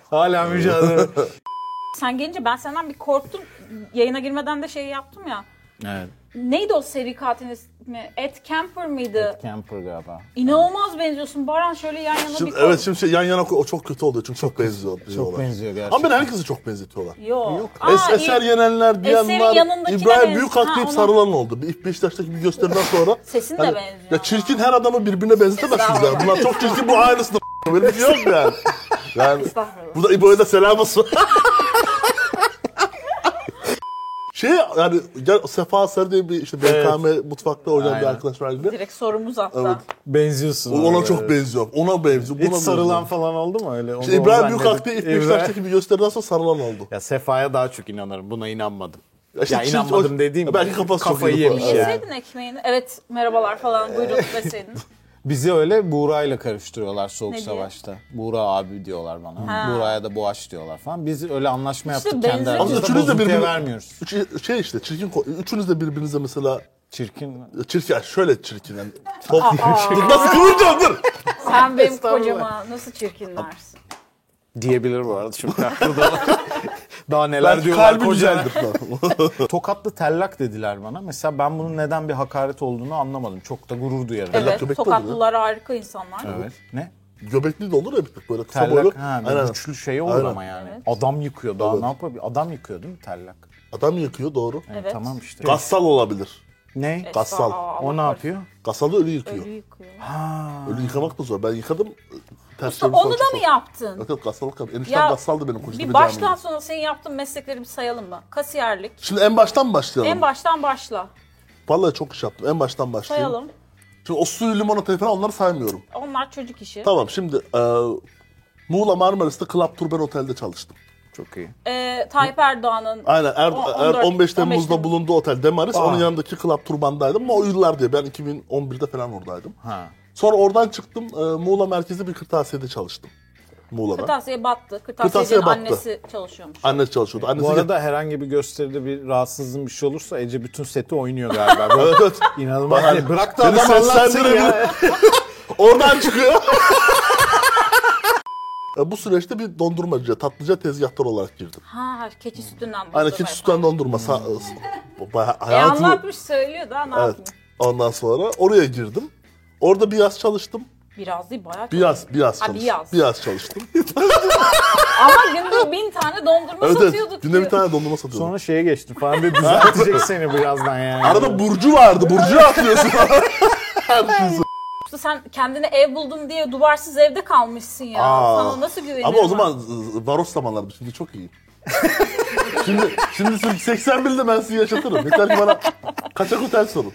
Speaker 1: Hala mücadele.
Speaker 3: Sen gelince ben senden bir korktum. Yayına girmeden de şey yaptım ya.
Speaker 1: evet.
Speaker 3: Neydi o seri katilin ismi? Ed Kemper mıydı?
Speaker 1: Camper galiba.
Speaker 3: İnanılmaz benziyorsun. Baran şöyle yan yana
Speaker 2: Şimdi,
Speaker 3: bir
Speaker 2: evet şimdi şey, yan yana koy- o çok kötü oluyor çünkü çok, benziyor. diyorlar.
Speaker 1: benziyor gerçekten.
Speaker 2: Ama ben herkesi çok benzetiyorlar.
Speaker 3: Yok.
Speaker 1: Yok.
Speaker 3: Aa,
Speaker 2: Es- eser
Speaker 3: iyi.
Speaker 2: yenenler
Speaker 3: Eserin
Speaker 2: diyen var.
Speaker 3: yanındakine
Speaker 2: İbrahim
Speaker 3: benz-
Speaker 2: Büyükak
Speaker 3: Ha,
Speaker 2: deyip
Speaker 3: ona-
Speaker 2: sarılan oldu. Bir Beşiktaş'taki bir gösterimden sonra.
Speaker 3: <laughs> Sesin de
Speaker 2: Hani-
Speaker 3: benziyor.
Speaker 2: Ya çirkin her adamı birbirine benzetemezsiniz yani. Bunlar çok çirkin bu aynısını <laughs> Benim bir yok yani. Yani
Speaker 3: Estağfurullah.
Speaker 2: burada İbo'ya da selam olsun. <laughs> şey yani gel Sefa Sarı diye bir işte BKM mutfakta oynayan bir
Speaker 1: Aynen.
Speaker 2: arkadaş var gibi.
Speaker 3: Direkt sorumuz hatta.
Speaker 2: Evet.
Speaker 1: Benziyorsun.
Speaker 2: O- Ona
Speaker 1: abi,
Speaker 2: çok
Speaker 1: evet.
Speaker 2: benziyor. Ona benziyor.
Speaker 1: Hiç
Speaker 2: buna
Speaker 1: sarılan
Speaker 2: benziyor.
Speaker 1: falan oldu mu öyle? Onu
Speaker 2: İşte İbrahim Büyükak diye ilk Beşiktaş'taki bir gösteriden sonra sarılan oldu.
Speaker 1: Ya Sefa'ya daha çok inanırım. Buna inanmadım.
Speaker 2: Ya işte
Speaker 1: ya
Speaker 2: çift-
Speaker 1: inanmadım
Speaker 2: o-
Speaker 1: dediğim
Speaker 2: belki kafası çok
Speaker 1: kafayı
Speaker 2: iyi
Speaker 1: yemiş
Speaker 2: falan.
Speaker 1: yani.
Speaker 3: Yeseydin ekmeğini. Evet merhabalar falan
Speaker 2: <laughs>
Speaker 3: buyurun deseydin.
Speaker 1: Bizi öyle Buğra'yla karıştırıyorlar Soğuk
Speaker 3: Ne diyor?
Speaker 1: Savaş'ta. Buğra abi diyorlar bana.
Speaker 3: Ha.
Speaker 1: Buğra'ya da Boğaç diyorlar falan. Biz öyle anlaşma
Speaker 3: İşte
Speaker 1: yaptık kendi
Speaker 3: benziyor.
Speaker 1: aramızda.
Speaker 2: Aslında üçünüz de
Speaker 1: bozuntuya
Speaker 2: birbirine-
Speaker 1: vermiyoruz.
Speaker 2: Üç, şey işte çirkin ko- üçünüz de birbirinize mesela
Speaker 1: Çirkin.
Speaker 2: çirkin yani şöyle çirkin yani. Top, dur nasıl kıvıracağım dur.
Speaker 3: Sen benim
Speaker 1: Estağfurullah.
Speaker 3: kocama nasıl çirkinlersin.
Speaker 1: Diyebilir bu arada şimdi haklı da. <laughs> Daha neler
Speaker 2: Belki
Speaker 1: diyorlar
Speaker 2: kalbi
Speaker 1: koca.
Speaker 2: güzeldir falan.
Speaker 1: Tokatlı tellak dediler bana. Mesela ben bunun neden bir hakaret olduğunu anlamadım. Çok da gurur duyarım.
Speaker 3: Evet,
Speaker 2: köpek de
Speaker 3: Tokatlılar harika insanlar.
Speaker 1: Evet. Ne?
Speaker 2: Göbekli de olur ya bir tık böyle kısa boylu.
Speaker 1: Tellak. Ha, bir
Speaker 2: Aynen.
Speaker 1: güçlü şey olur
Speaker 2: Aynen.
Speaker 1: ama yani. Adam yıkıyor. Daha
Speaker 2: Evet.
Speaker 1: ne yapabilir? Adam yıkıyor değil mi tellak?
Speaker 2: Adam yakıyor doğru.
Speaker 1: Yani
Speaker 3: Evet.
Speaker 1: Tamam işte.
Speaker 2: Gassal olabilir.
Speaker 1: Ne?
Speaker 3: Evet,
Speaker 2: Gassal.
Speaker 3: aa,
Speaker 1: O ne
Speaker 3: Allah
Speaker 1: yapıyor?
Speaker 2: Gassal da ölü yıkıyor.
Speaker 3: Ölü
Speaker 2: Ölü,
Speaker 3: yıkıyor.
Speaker 1: Ha.
Speaker 2: yıkamak da zor. Ben yıkadım. Ters
Speaker 3: Usta,
Speaker 2: çevirip
Speaker 3: onu
Speaker 2: sonra
Speaker 3: da mı
Speaker 2: çıktı.
Speaker 3: yaptın?
Speaker 2: Yok yok gassallık yap. Eniştem
Speaker 3: Ya,
Speaker 2: gassaldı benim koçum.
Speaker 3: Bir baştan sona senin yaptığın meslekleri bir sayalım mı? Kasiyerlik.
Speaker 2: Şimdi en baştan başlayalım.
Speaker 3: En baştan başla.
Speaker 2: Vallahi çok iş yaptım. En baştan başlayayım.
Speaker 3: Sayalım.
Speaker 2: Şimdi o suyu limonatayı falan onları saymıyorum.
Speaker 3: Onlar çocuk işi.
Speaker 2: Tamam şimdi e, Muğla Marmaris'te Club Turben Otel'de çalıştım.
Speaker 1: Çok iyi.
Speaker 3: Ee, Tayyip Erdoğan'ın
Speaker 2: Aynen Er-
Speaker 3: O-
Speaker 2: Er-
Speaker 3: 14
Speaker 2: 15 Temmuz'da
Speaker 3: 15
Speaker 2: bulunduğu otel Demaris.
Speaker 1: Aa.
Speaker 2: Onun yanındaki Club Turban'daydım ama o yıllar diye. Ben 2011'de falan oradaydım.
Speaker 1: Ha.
Speaker 2: Sonra oradan çıktım. e, Muğla merkezli bir kırtasiyede çalıştım. Muğla'da.
Speaker 3: kırtasiye battı.
Speaker 2: Kırtasiye
Speaker 3: Kırtasiye'nin
Speaker 2: battı.
Speaker 3: annesi çalışıyormuş.
Speaker 2: Annesi çalışıyordu. Annesi
Speaker 1: Bu arada herhangi bir gösteride bir rahatsızlığın bir şey olursa Ece bütün seti oynuyor galiba. <laughs> Bu
Speaker 2: <laughs> Evet, evet.
Speaker 1: İnanılmaz.
Speaker 2: Bahar,
Speaker 1: Yani bırak da
Speaker 2: beni
Speaker 1: adam anlatsın
Speaker 2: seslendirebilir.
Speaker 1: ya.
Speaker 2: Oradan çıkıyor. <laughs> E, Bu süreçte bir dondurmacıya, tatlıcıya tezgahtar olarak girdim.
Speaker 3: Ha keçi sütünden
Speaker 2: Hani
Speaker 3: başladı.
Speaker 2: keçi sütten dondurma. Sa- bayağı
Speaker 3: E
Speaker 2: hayatım-
Speaker 3: anlatmış söylüyor daha ne
Speaker 2: Evet.
Speaker 3: yapayım.
Speaker 2: Ondan sonra oraya girdim. Orada bir yaz çalıştım.
Speaker 3: Biraz değil bayağı
Speaker 2: Bir yaz, bir yaz
Speaker 3: Ha, bir
Speaker 2: çalıştım.
Speaker 3: yaz.
Speaker 2: Bir yaz
Speaker 3: <laughs>
Speaker 2: çalıştım.
Speaker 3: Ama günde bin tane dondurma
Speaker 2: evet, evet.
Speaker 3: satıyorduk.
Speaker 2: Günde bir
Speaker 3: diyor.
Speaker 2: tane dondurma satıyordum.
Speaker 1: Sonra şeye geçtim falan ve düzeltecek seni birazdan yani.
Speaker 2: Arada Burcu vardı. Burcu'ya
Speaker 3: <laughs>
Speaker 2: atlıyorsun.
Speaker 3: Usta sen kendine ev buldum diye duvarsız evde kalmışsın ya.
Speaker 2: Aa.
Speaker 3: Sana nasıl güvenirim?
Speaker 2: Ama o zaman z- varoş zamanlardı. Şimdi çok iyi. şimdi şimdi siz 81'de ben sizi yaşatırım. Yeter ki bana kaçak otel sorun.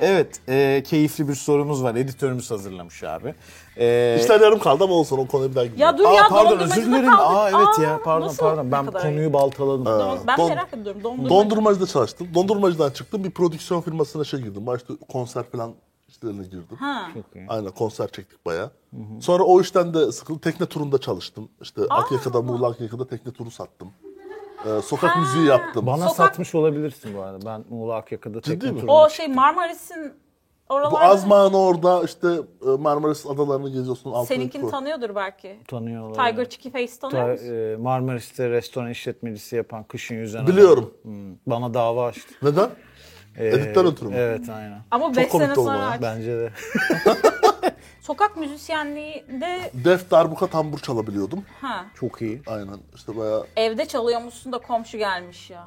Speaker 1: Evet, e, keyifli bir sorumuz var. Editörümüz hazırlamış abi. E,
Speaker 2: İşler yarım kaldı ama olsun o konuya bir daha gidelim.
Speaker 3: Ya dur
Speaker 1: Aa,
Speaker 3: ya
Speaker 1: pardon
Speaker 3: dondurmacıda
Speaker 1: özür dilerim.
Speaker 3: kaldık.
Speaker 1: Aa evet ya pardon
Speaker 3: nasıl? Ne
Speaker 1: pardon. Ben
Speaker 3: kadar
Speaker 1: konuyu baltaladım.
Speaker 3: ayıp? Don- Ben
Speaker 2: Don-
Speaker 3: merak ediyorum dondurma.
Speaker 2: Dondurmacıda çalıştım. Dondurmacıdan çıktım. Bir prodüksiyon firmasına şey girdim. Başta konser falan işlerine girdim.
Speaker 3: Ha.
Speaker 2: Aynen konser çektik bayağı. Sonra o işten de sıkıldım. Tekne turunda çalıştım. İşte Akyaka'da, Muğla Akyaka'da tekne turu sattım. Ee, sokak müziği yaptım.
Speaker 1: Bana
Speaker 3: Sokak-
Speaker 1: satmış olabilirsin bu arada. Ben Muğla Akyaka'da tekne
Speaker 2: mi?
Speaker 1: turuna
Speaker 3: O şey Marmaris'in
Speaker 2: Bu
Speaker 3: oralarda
Speaker 2: Azmağın orada işte e, Marmaris adalarını geziyorsun. altı
Speaker 3: seninkini
Speaker 2: tur.
Speaker 3: tanıyordur belki.
Speaker 1: tanıyorlar.
Speaker 3: Tiger Chicky Face tanıyor musun?
Speaker 1: Ta- e, Marmaris'te restoran işletmecisi yapan kışın yüzen
Speaker 2: Biliyorum.
Speaker 1: adam. Hmm, Bana dava açtı.
Speaker 2: Neden?
Speaker 1: E,
Speaker 2: Editten ötürü mü?
Speaker 1: Evet aynen.
Speaker 3: Ama
Speaker 2: Çok
Speaker 3: 5 sene
Speaker 2: komik oldu
Speaker 3: sonra
Speaker 2: ya.
Speaker 3: artık.
Speaker 1: Bence de.
Speaker 3: Sokak müzisyenliğinde
Speaker 2: Def darbuka tambur çalabiliyordum.
Speaker 3: ha,
Speaker 1: Çok iyi.
Speaker 2: Aynen işte bayağı
Speaker 3: evde çalıyormuşsun da komşu gelmiş ya.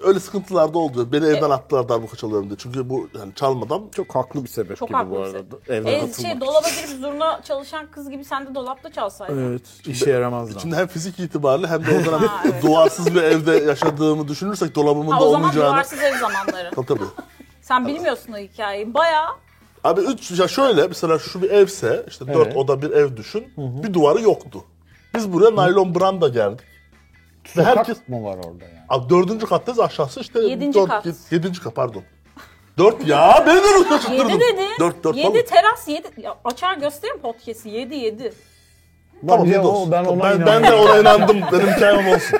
Speaker 2: öyle sıkıntılar da oldu. Beni
Speaker 3: E-
Speaker 2: evden attılar darbuka çalıyorum diye. Çünkü bu yani çalmadan
Speaker 1: Çok haklı bir sebep
Speaker 3: Çok
Speaker 1: gibi bu
Speaker 3: haklısın.
Speaker 1: arada. Evden
Speaker 3: E,
Speaker 1: atılmak.
Speaker 3: şey, dolaba girip zurna çalışan kız gibi sen de dolapta çalsaydın.
Speaker 2: Ee,
Speaker 1: Evet. İşe yaramaz lan.
Speaker 2: Şimdi hem fizik itibariyle hem de o dönem
Speaker 3: <laughs> Ha, evet.
Speaker 2: duarsız bir evde yaşadığımı düşünürsek dolabımın
Speaker 3: Ha,
Speaker 2: da
Speaker 3: o zaman
Speaker 2: olmayacağını.
Speaker 3: duvarsız ev zamanları.
Speaker 2: Tabii tabii.
Speaker 3: Sen bilmiyorsun o hikayeyi. Bayağı
Speaker 2: Abi üç, ya şöyle mesela şu bir evse işte dört
Speaker 1: Evet.
Speaker 2: oda bir ev düşün. Bir duvarı yoktu. Biz buraya naylon branda geldik. Ve herkes
Speaker 1: Sokak mı var orada yani?
Speaker 2: Abi dördüncü kattayız aşağısı işte.
Speaker 3: Yedinci
Speaker 2: dört-
Speaker 3: kat.
Speaker 2: yed- yedinci kat pardon. Dört ya beni de unutma çıktırdın.
Speaker 3: yedi dedi.
Speaker 2: Dört dört
Speaker 3: yedi
Speaker 2: pardon.
Speaker 3: teras yedi. Ya, açar göstereyim podcast'i. Yedi yedi.
Speaker 2: Tamam
Speaker 1: Bence
Speaker 2: yedi
Speaker 1: o-
Speaker 2: olsun.
Speaker 1: ben ona
Speaker 2: ben, ben
Speaker 1: inanıyorum.
Speaker 2: de ona inandım. Benim hikayem
Speaker 1: <laughs>
Speaker 2: olsun.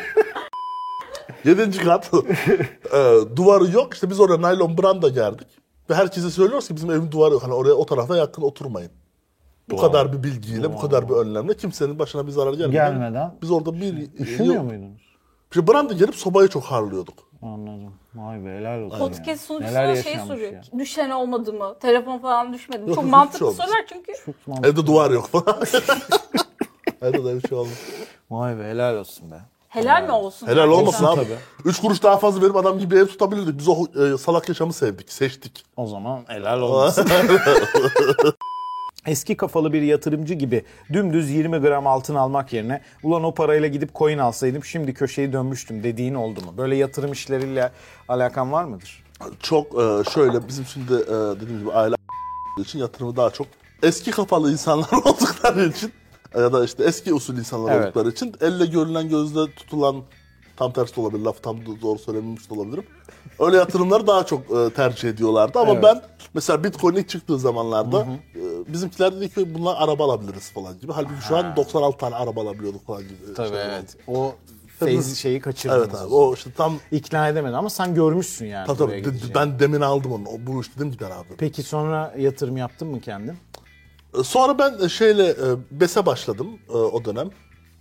Speaker 2: Yedinci kat. Ee, duvarı yok. İşte biz oraya naylon branda geldik. Ve herkese söylüyoruz ki bizim evin duvarı yok. Hani oraya o tarafa yakın oturmayın. Bu kadar bir bilgiyle, bu kadar bir önlemle kimsenin başına bir zarar gelmeden.
Speaker 1: Gelmeden.
Speaker 2: Biz orada bir...
Speaker 1: Düşünmüyor muydunuz?
Speaker 2: İşte branda gelip sobayı çok harlıyorduk.
Speaker 1: Anladım. Vay be helal olsun. ya.
Speaker 3: Podcast
Speaker 1: Neler
Speaker 3: sunucusuna şey
Speaker 1: yaşanmış
Speaker 3: soruyor.
Speaker 1: ya.
Speaker 3: Düşen olmadı mı? Telefon falan düşmedi mi?
Speaker 2: Yok,
Speaker 3: Çok
Speaker 2: hiç
Speaker 3: mantıklı
Speaker 2: olmaz.
Speaker 3: sorular çünkü.
Speaker 1: Çok mantıklı.
Speaker 2: Evde duvar
Speaker 1: <laughs>
Speaker 2: yok falan. Evde de bir şey olmaz.
Speaker 1: Vay be helal olsun be.
Speaker 3: Helal mi olsun?
Speaker 2: Helal olmasın
Speaker 3: Gerçekten.
Speaker 2: abi. Üç kuruş daha fazla verip adam gibi ev tutabilirdik. Biz o e, salak yaşamı sevdik, seçtik.
Speaker 1: O zaman helal olsun. Eski kafalı bir yatırımcı gibi dümdüz 20 gram altın almak yerine ulan o parayla gidip coin alsaydım şimdi köşeyi dönmüştüm dediğin oldu mu? Böyle yatırım işleriyle alakan var mıdır?
Speaker 2: Çok e, şöyle bizim şimdi e, dediğim gibi aile için yatırımı daha çok eski kafalı insanlar <laughs> oldukları için ya da işte eski usul insanlar
Speaker 1: Evet.
Speaker 2: oldukları için elle görülen gözle tutulan tam tersi de olabilir. Laf tam do- doğru söylememiş de olabilirim. Öyle yatırımları daha çok e, tercih ediyorlardı ama
Speaker 1: Evet.
Speaker 2: ben mesela Bitcoin ilk çıktığı zamanlarda e, bizimkiler dedi ki bunlar araba alabiliriz falan gibi. Halbuki şu an 96 tane araba alabiliyorduk falan gibi. şeyler oldu.
Speaker 1: O feyzi şeyi kaçırdınız.
Speaker 2: Evet abi o işte tam
Speaker 1: İkna edemedin ama sen görmüşsün yani.
Speaker 2: Tabii
Speaker 1: buraya
Speaker 2: tabii. De-
Speaker 1: gideceğini.
Speaker 2: ben demin aldım onu. O- Bu iş dedim gider abi.
Speaker 1: Peki sonra yatırım yaptın mı kendin?
Speaker 2: Sonra ben şeyle e, BES'e başladım e, o dönem.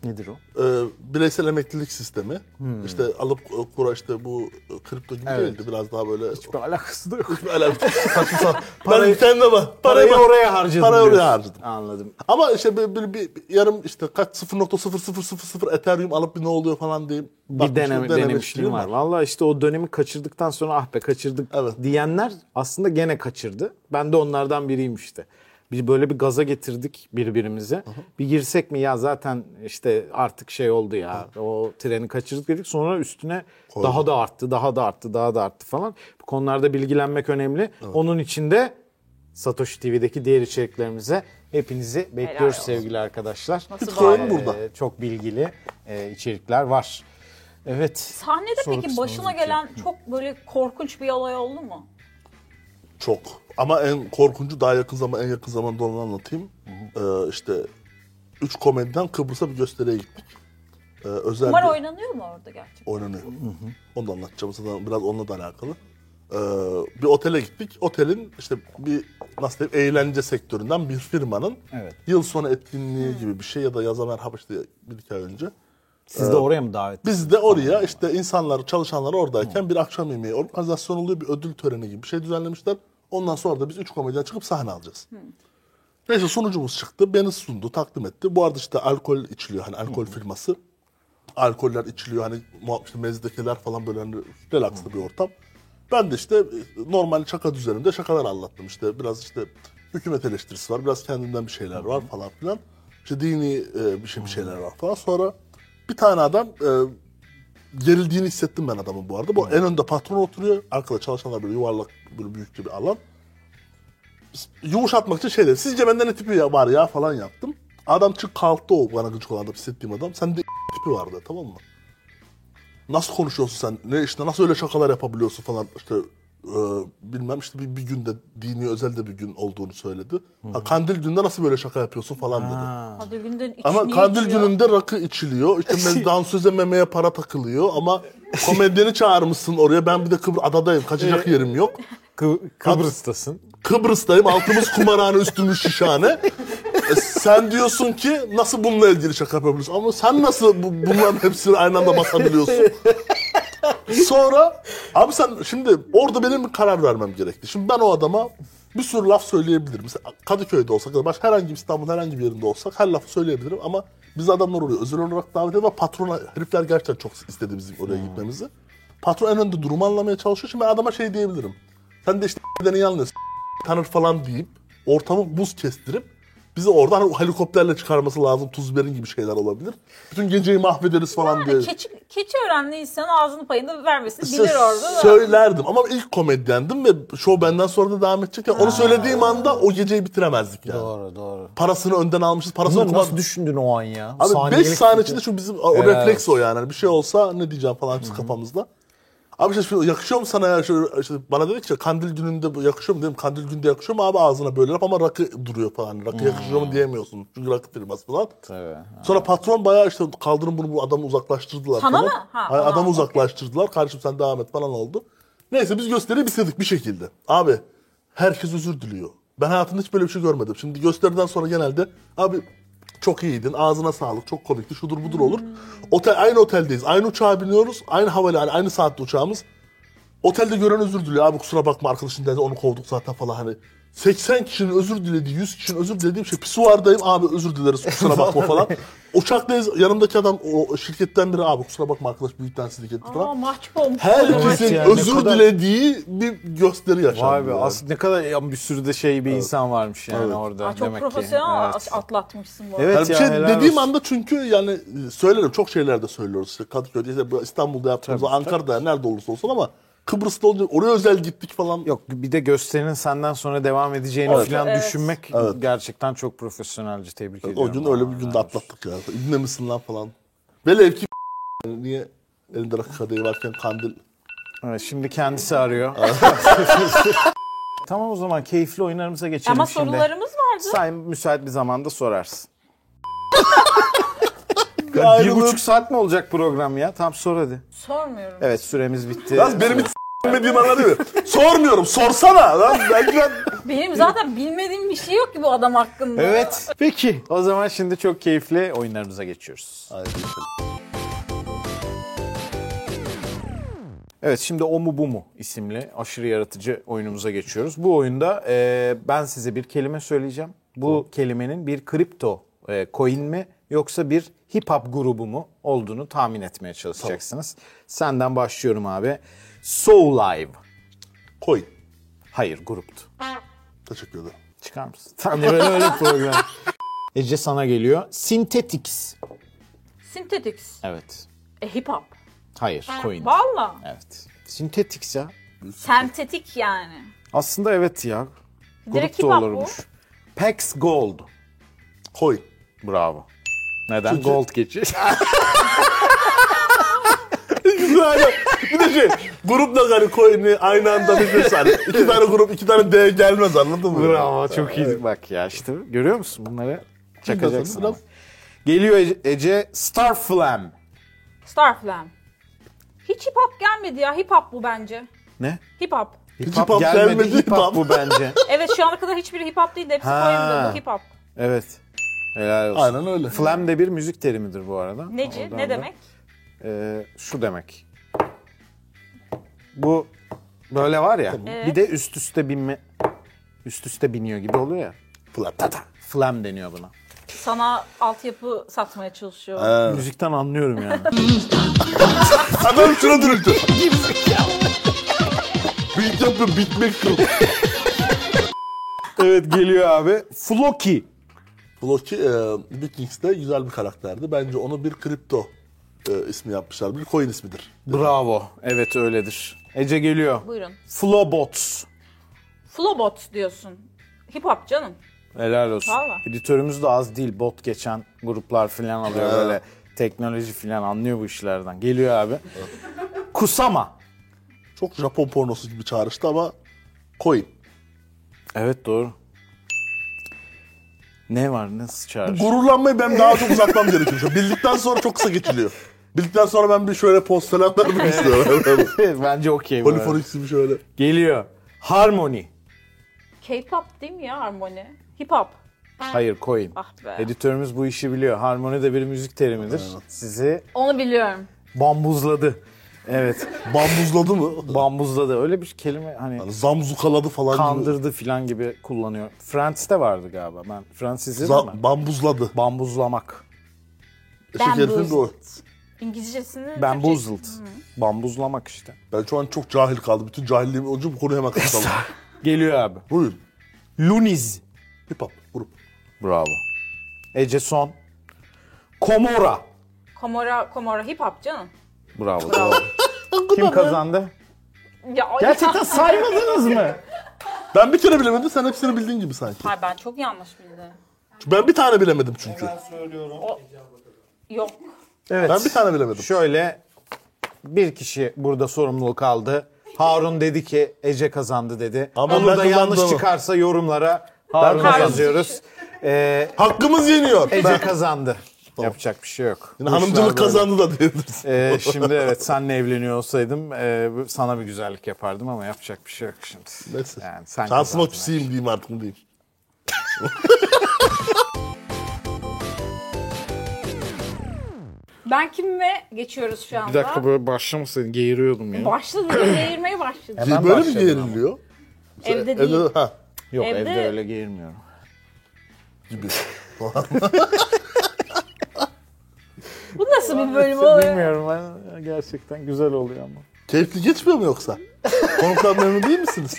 Speaker 1: Nedir o?
Speaker 2: Ee, bireysel emeklilik sistemi. İşte alıp e, kura işte bu e, kripto gibi
Speaker 1: Hmm. Evet.
Speaker 2: değildi. Biraz daha böyle... <laughs>
Speaker 1: Hiçbir alakası da yok.
Speaker 2: Öyle
Speaker 1: <laughs>
Speaker 2: saçma sapan.
Speaker 1: Parayı-
Speaker 2: Parayı kendime bak.
Speaker 1: Parayı
Speaker 2: bak.
Speaker 1: oraya harcadım.
Speaker 2: Parayı oraya
Speaker 1: diyorsun.
Speaker 2: harcadım.
Speaker 1: Anladım.
Speaker 2: Ama işte böyle bir, bir yarım işte kaç 0.0000 Ethereum alıp bir ne oluyor falan diye
Speaker 1: bir
Speaker 2: bakmıştım,
Speaker 1: deneme, denemişliğim var. Vallahi işte o dönemi kaçırdıktan sonra ah be kaçırdık
Speaker 2: Evet.
Speaker 1: diyenler aslında gene kaçırdı. Ben de onlardan biriyim işte. Bir böyle bir gaza getirdik birbirimize. Bir girsek mi ya zaten işte artık şey oldu ya. O treni kaçırdık dedik. Sonra üstüne daha da arttı, daha da arttı, daha da arttı falan. Bu konularda bilgilenmek önemli. Onun için de Satoshi TV'deki diğer içeriklerimize hepinizi bekliyoruz
Speaker 3: olsun.
Speaker 1: sevgili arkadaşlar.
Speaker 3: Nasıl
Speaker 2: Bitcoin
Speaker 3: bağlı?
Speaker 2: bu. burada.
Speaker 1: Ee, çok bilgili e, içerikler var. Evet.
Speaker 3: Sahnede
Speaker 1: Soru
Speaker 3: peki
Speaker 1: kısmına
Speaker 3: başına
Speaker 1: geçiyorum.
Speaker 3: gelen çok böyle korkunç bir olay oldu mu?
Speaker 2: Çok. Ama en korkuncu daha yakın zaman en yakın zamanda olanı anlatayım. Ee, işte 3 komediden Kıbrıs'a bir gösteriye gittik. Ee, özel
Speaker 3: Kumar
Speaker 2: bir-
Speaker 3: oynanıyor mu orada gerçekten?
Speaker 2: oynanıyor. Onu da anlatacağım zaten biraz onunla da alakalı. Ee, bir otele gittik. Otelin işte bir nasıl diyeyim eğlence sektöründen bir firmanın
Speaker 1: Evet.
Speaker 2: yıl sonu etkinliği gibi bir şey ya da yaza merhaba işte bir iki ay önce.
Speaker 1: Siz de oraya mı davet?
Speaker 2: Biz de oraya işte insanlar, çalışanlar oradayken bir akşam yemeği organizasyon oluyor. Bir ödül töreni gibi bir şey düzenlemişler. Ondan sonra da biz üç komediden çıkıp sahne alacağız. Neyse sunucumuz çıktı. Beni sundu, takdim etti. Bu arada işte alkol içiliyor. Hani alkol firması. Alkoller içiliyor. Hani muha- işte mezdekiler falan böyle hani relaxlı bir ortam. Ben de işte e, normal şaka düzenimde şakalar anlattım. İşte biraz işte hükümet eleştirisi var. Biraz kendimden bir şeyler var falan filan. İşte dini e, bir şey bir şeyler var falan. Sonra bir tane adam e, gerildiğini hissettim ben adamın bu arada. Bu en önde patron oturuyor. Arkada çalışanlar böyle yuvarlak böyle büyükçe bir alan. Yumuşatmak için şey dedim. Sizce bende ne tipi ya- var ya falan yaptım. Adam çık kalktı o bana gıcık olan adam hissettiğim adam. Sende <laughs> tipi vardı tamam mı? Nasıl konuşuyorsun sen? Ne işte nasıl öyle şakalar yapabiliyorsun falan işte e, bilmem işte bir, bir günde dini özel de bir gün olduğunu söyledi. Ha, kandil günde nasıl böyle şaka yapıyorsun falan dedi.
Speaker 3: Hadi günden içini
Speaker 2: Ama kandil
Speaker 3: içiyor.
Speaker 2: gününde rakı içiliyor. İşte dansöze memeye para takılıyor ama komedyeni çağırmışsın oraya. Ben bir de Kıbr adadayım. Kaçacak yerim yok.
Speaker 1: Kı- Kıbrıs'tasın.
Speaker 2: Kıbrıs'tayım. Altımız kumarhane, üstümüz şişhane. E, sen diyorsun ki nasıl bununla ilgili şaka yapabiliyorsun? Ama sen nasıl bu, bunların hepsini aynı anda basabiliyorsun? Sonra abi sen şimdi orada benim bir karar vermem gerekti. Şimdi ben o adama bir sürü laf söyleyebilirim. Mesela Kadıköy'de olsak ya da başka herhangi bir İstanbul'un herhangi bir yerinde olsak her lafı söyleyebilirim ama biz adamlar oraya özel olarak davet ediyor ve patrona herifler gerçekten çok istedi bizim oraya gitmemizi. Patron en önde durumu anlamaya çalışıyor. Şimdi ben adama şey diyebilirim. Sen de işte niye anlıyorsun? tanır falan deyip ortamı buz kestirip bizi oradan helikopterle çıkarması lazım. Tuz biberin gibi şeyler olabilir. Bütün geceyi mahvederiz falan diye.
Speaker 3: Keçi, keçi öğrenli insanın ağzını payını vermesini
Speaker 2: Sö-
Speaker 3: bilir orada da.
Speaker 2: Söylerdim ama ilk komedyendim ve show benden sonra da devam edecek. ya. onu söylediğim anda o geceyi bitiremezdik yani.
Speaker 1: Doğru doğru.
Speaker 2: Parasını önden almışız. Parasını
Speaker 1: Bunları
Speaker 2: kumar...
Speaker 1: nasıl düşündün o an ya?
Speaker 2: Abi 5
Speaker 1: Saniyelik-
Speaker 2: saniye içinde şu bizim o
Speaker 1: Evet.
Speaker 2: refleks o yani. Hani Bir şey olsa ne diyeceğim falan biz kafamızda. Abi işte şimdi yakışıyor mu sana ya? Şöyle, işte bana dedi ki kandil gününde bu yakışıyor mu dedim. Kandil günde yakışıyor mu abi ağzına böyle yap ama rakı duruyor falan. Rakı yakışıyor mu diyemiyorsun. Çünkü rakı firması falan.
Speaker 1: Tabii.
Speaker 2: Sonra patron bayağı işte kaldırın bunu bu adamı uzaklaştırdılar.
Speaker 3: Sana
Speaker 2: falan.
Speaker 3: mı? Ha,
Speaker 2: Hayır,
Speaker 3: ona,
Speaker 2: adamı
Speaker 3: okey.
Speaker 2: uzaklaştırdılar. Kardeşim sen devam et falan oldu. Neyse biz gösteriyi bitirdik bir şekilde. Abi herkes özür diliyor. Ben hayatımda hiç böyle bir şey görmedim. Şimdi gösteriden sonra genelde abi çok iyiydin, ağzına sağlık, çok komikti, şudur budur olur.
Speaker 3: Hmm.
Speaker 2: Otel, aynı oteldeyiz, aynı uçağa biniyoruz, aynı havalimanı, aynı saatte uçağımız. Otelde gören özür diliyor. Abi kusura bakma arkadaşın dedi onu kovduk zaten falan hani. 80 kişinin özür dilediği, 100 kişinin özür dilediği bir şey. Pisuardayım abi özür dileriz
Speaker 1: <laughs>
Speaker 2: kusura bakma falan. Uçaktayız yanımdaki adam o şirketten biri abi kusura bakma arkadaş büyükten sizi etti
Speaker 3: Aa,
Speaker 2: falan.
Speaker 3: mahcup olmuş.
Speaker 2: Herkesin
Speaker 1: Evet ya, ne
Speaker 2: özür
Speaker 1: kadar-
Speaker 2: dilediği bir gösteri yaşandı.
Speaker 1: Vay be
Speaker 2: yani.
Speaker 1: aslında ne kadar ya bir sürü de şey bir insan varmış yani orada
Speaker 3: Aa, çok
Speaker 1: demek
Speaker 3: profesyonel
Speaker 1: ki. Evet.
Speaker 3: atlatmışsın bu arada.
Speaker 1: Evet
Speaker 2: Yani bir
Speaker 1: ya,
Speaker 2: şey
Speaker 1: helal
Speaker 2: dediğim
Speaker 1: olsun.
Speaker 2: anda çünkü yani e, söylerim çok şeyler de söylüyoruz. İşte Kadıköy'de, işte bu İstanbul'da yaptığımızda, Ankara'da nerede olursa olsun ama Kıbrıs'ta olunca oraya özel gittik falan.
Speaker 1: Yok bir de gösterinin senden sonra devam edeceğini
Speaker 2: Evet.
Speaker 1: falan
Speaker 3: Evet.
Speaker 1: düşünmek gerçekten çok profesyonelce tebrik ediyorum.
Speaker 2: O gün öyle bir günde atlattık ya. İbne misin lan falan. Velev ki <laughs> yani niye elinde rakı kadehi varken kandil. <laughs>
Speaker 1: Evet, şimdi kendisi arıyor. tamam o zaman keyifli oyunlarımıza geçelim
Speaker 3: Ama
Speaker 1: şimdi.
Speaker 3: sorularımız vardı.
Speaker 1: Sen müsait bir zamanda sorarsın. Ya bir
Speaker 2: Ayrılır.
Speaker 1: buçuk saat mi olacak program ya? Tamam sor hadi.
Speaker 3: Sormuyorum.
Speaker 1: Evet süremiz bitti.
Speaker 2: <laughs> Lan benim hiç s**mediğim anlar değil mi? Sormuyorum sorsana. Lan ben, ben
Speaker 3: Benim zaten bilmediğim bir şey yok ki bu adam hakkında.
Speaker 1: Evet. Peki. O zaman şimdi çok keyifli oyunlarımıza geçiyoruz.
Speaker 2: Haydi geçelim.
Speaker 1: Evet şimdi O mu Bu mu isimli aşırı yaratıcı oyunumuza geçiyoruz. Bu oyunda e, ben size bir kelime söyleyeceğim. Bu kelimenin bir kripto e, coin mi yoksa bir hip hop grubu mu olduğunu tahmin etmeye çalışacaksınız. Senden başlıyorum abi. Soul Live.
Speaker 2: Koy.
Speaker 1: Hayır gruptu.
Speaker 2: Teşekkür ederim.
Speaker 1: Çıkar mısın? Tam da böyle öyle bir program. Ece sana geliyor. Synthetics.
Speaker 3: Synthetics.
Speaker 1: Evet.
Speaker 3: E, hip hop.
Speaker 1: Hayır coin.
Speaker 3: Valla.
Speaker 1: Evet. Synthetics ya.
Speaker 3: Sentetik yani.
Speaker 1: Aslında evet ya.
Speaker 3: Direkt
Speaker 1: Grup
Speaker 3: hip
Speaker 1: da
Speaker 3: hop
Speaker 1: olurmuş. Pax Gold.
Speaker 2: Koy. <laughs>
Speaker 1: Bravo. Neden?
Speaker 2: Çünkü-
Speaker 1: Gold geçiş.
Speaker 2: Aynen. Bir de şey, grupla hani coin'i aynı anda bilirsin. Hani iki tane grup, iki tane D gelmez anladın mı?
Speaker 1: <laughs>
Speaker 2: Ee,
Speaker 1: Bravo çok iyi. Bak ya işte görüyor musun bunları? Çakacaksın.
Speaker 2: Biraz-
Speaker 1: ama. Geliyor Ece, Ece Star Flam.
Speaker 3: Starflam. Hiç hip hop gelmedi ya. Hip hop bu bence.
Speaker 1: Ne?
Speaker 3: Hip hop.
Speaker 1: Hip
Speaker 2: hop gelmedi,
Speaker 1: Hip hop
Speaker 2: hip
Speaker 1: bu
Speaker 2: hop.
Speaker 1: bence.
Speaker 3: Evet şu ana kadar hiçbiri hip hop değildi. Hepsi
Speaker 1: Ha.
Speaker 3: koyundu. Bu hip hop.
Speaker 1: Evet. Helal olsun.
Speaker 2: Aynen öyle.
Speaker 1: Flam de bir müzik terimidir bu arada.
Speaker 3: Neci?
Speaker 1: Oradan da-
Speaker 3: ne demek?
Speaker 1: Ee, şu demek. Bu böyle var ya. Bir de üst üste binme üst üste biniyor gibi oluyor ya.
Speaker 2: Flat.
Speaker 1: Flam deniyor buna.
Speaker 3: Sana altyapı satmaya çalışıyor.
Speaker 1: Müzikten anlıyorum yani. <laughs>
Speaker 2: Adam şuna <laughs> dürüldü. Beat yapıyor, beat maker.
Speaker 1: evet geliyor abi. Floki.
Speaker 2: Bloki e, Vikings'te güzel bir karakterdi. Bence onu bir kripto e, ismi yapmışlar. Bir coin ismidir.
Speaker 1: Bravo. Evet öyledir. Ece geliyor.
Speaker 3: Buyurun.
Speaker 1: Flobots.
Speaker 3: Flowbot diyorsun. Hip hop canım.
Speaker 1: Helal olsun.
Speaker 3: Valla.
Speaker 1: Editörümüz de az değil. Bot geçen gruplar filan alıyor
Speaker 2: Ha.
Speaker 1: böyle. Teknoloji filan anlıyor bu işlerden. Geliyor abi. Kusama.
Speaker 2: Çok Japon pornosu gibi çağrıştı ama coin.
Speaker 1: Evet doğru. Ne var nasıl çağır?
Speaker 2: Gururlanmayı ben daha çok uzatmam gerekiyor. şu an. Bildikten sonra çok kısa geçiliyor. Bildikten sonra ben bir şöyle post falan
Speaker 1: <laughs>
Speaker 2: vermek istiyorum.
Speaker 1: <laughs> Bence okey bu. arada.
Speaker 2: Polifonix gibi şöyle.
Speaker 1: Geliyor. Harmony.
Speaker 3: K-pop değil mi ya harmoni? Hip hop.
Speaker 1: Hayır coin.
Speaker 3: Ah be.
Speaker 1: Editörümüz bu işi biliyor. Harmoni de bir müzik terimidir. Sizi
Speaker 3: Onu biliyorum.
Speaker 1: bambuzladı. Evet.
Speaker 2: Bambuzladı mı?
Speaker 1: Bambuzladı. Öyle bir kelime hani
Speaker 2: Zamzukaladı falan gibi.
Speaker 1: kandırdı filan gibi kullanıyor. Friends'te vardı galiba. Ben Friends izledim
Speaker 2: Za-
Speaker 1: mi?
Speaker 2: bambuzladı. E,
Speaker 1: Bambuzlamak.
Speaker 2: Şeker filmi de o.
Speaker 3: İngilizcesini...
Speaker 1: Bamboozled. Bambuzlamak işte.
Speaker 2: Ben şu an çok cahil kaldım. Bütün cahilliğim olunca bu konuya hemen kapatalım.
Speaker 1: Geliyor abi.
Speaker 2: Buyurun.
Speaker 1: Luniz.
Speaker 2: Hip hop grup.
Speaker 1: Bravo. Ece son. Komora.
Speaker 3: Komora, Komora hip hop canım.
Speaker 1: Bravo. Kim kazandı?
Speaker 3: Ya,
Speaker 1: Gerçekten saymadınız mı?
Speaker 2: Ben bir kere bilemedim. Sen hepsini bildiğin gibi sanki.
Speaker 3: Hayır ben çok yanlış bildim.
Speaker 2: Ben bir tane bilemedim çünkü.
Speaker 3: Yok.
Speaker 1: Evet.
Speaker 2: Ben bir tane bilemedim.
Speaker 1: Şöyle bir kişi burada sorumluluk aldı. Harun dedi ki Ece kazandı dedi.
Speaker 2: Ama
Speaker 1: Ama
Speaker 2: ben
Speaker 1: Olur da yanlış
Speaker 2: kazandım.
Speaker 1: çıkarsa yorumlara Harun'a
Speaker 2: kazandım.
Speaker 1: yazıyoruz. Ee,
Speaker 2: Hakkımız yeniyor.
Speaker 1: Ece kazandı. Yapacak bir şey yok.
Speaker 2: Yani hanımcılık kazandı da diyebilirsin.
Speaker 1: Ee, şimdi evet senle evleniyor olsaydım e, bu- sana bir güzellik yapardım ama yapacak bir şey yok şimdi.
Speaker 2: Neyse.
Speaker 1: Yani sen
Speaker 2: Şansıma
Speaker 1: kazandın.
Speaker 2: küseyim diyeyim artık ne diyeyim.
Speaker 3: Ben kimle geçiyoruz şu anda?
Speaker 1: Bir dakika böyle başlamasın geğiriyordum ya. <clears throat>
Speaker 3: Başladı. Değirmeye başladı.
Speaker 1: Hemen
Speaker 2: Böyle mi
Speaker 1: başladım ama.
Speaker 2: geriliyor?
Speaker 3: Evde değil.
Speaker 2: ha.
Speaker 1: Yok evde,
Speaker 3: Evde-
Speaker 1: öyle geğirmiyorum.
Speaker 2: Gibi. <laughs>
Speaker 3: Bu nasıl bir bölüm oluyor?
Speaker 1: Bilmiyorum ben gerçekten güzel oluyor ama.
Speaker 2: Keyifli geçmiyor mu yoksa? Konuktan memnun değil misiniz?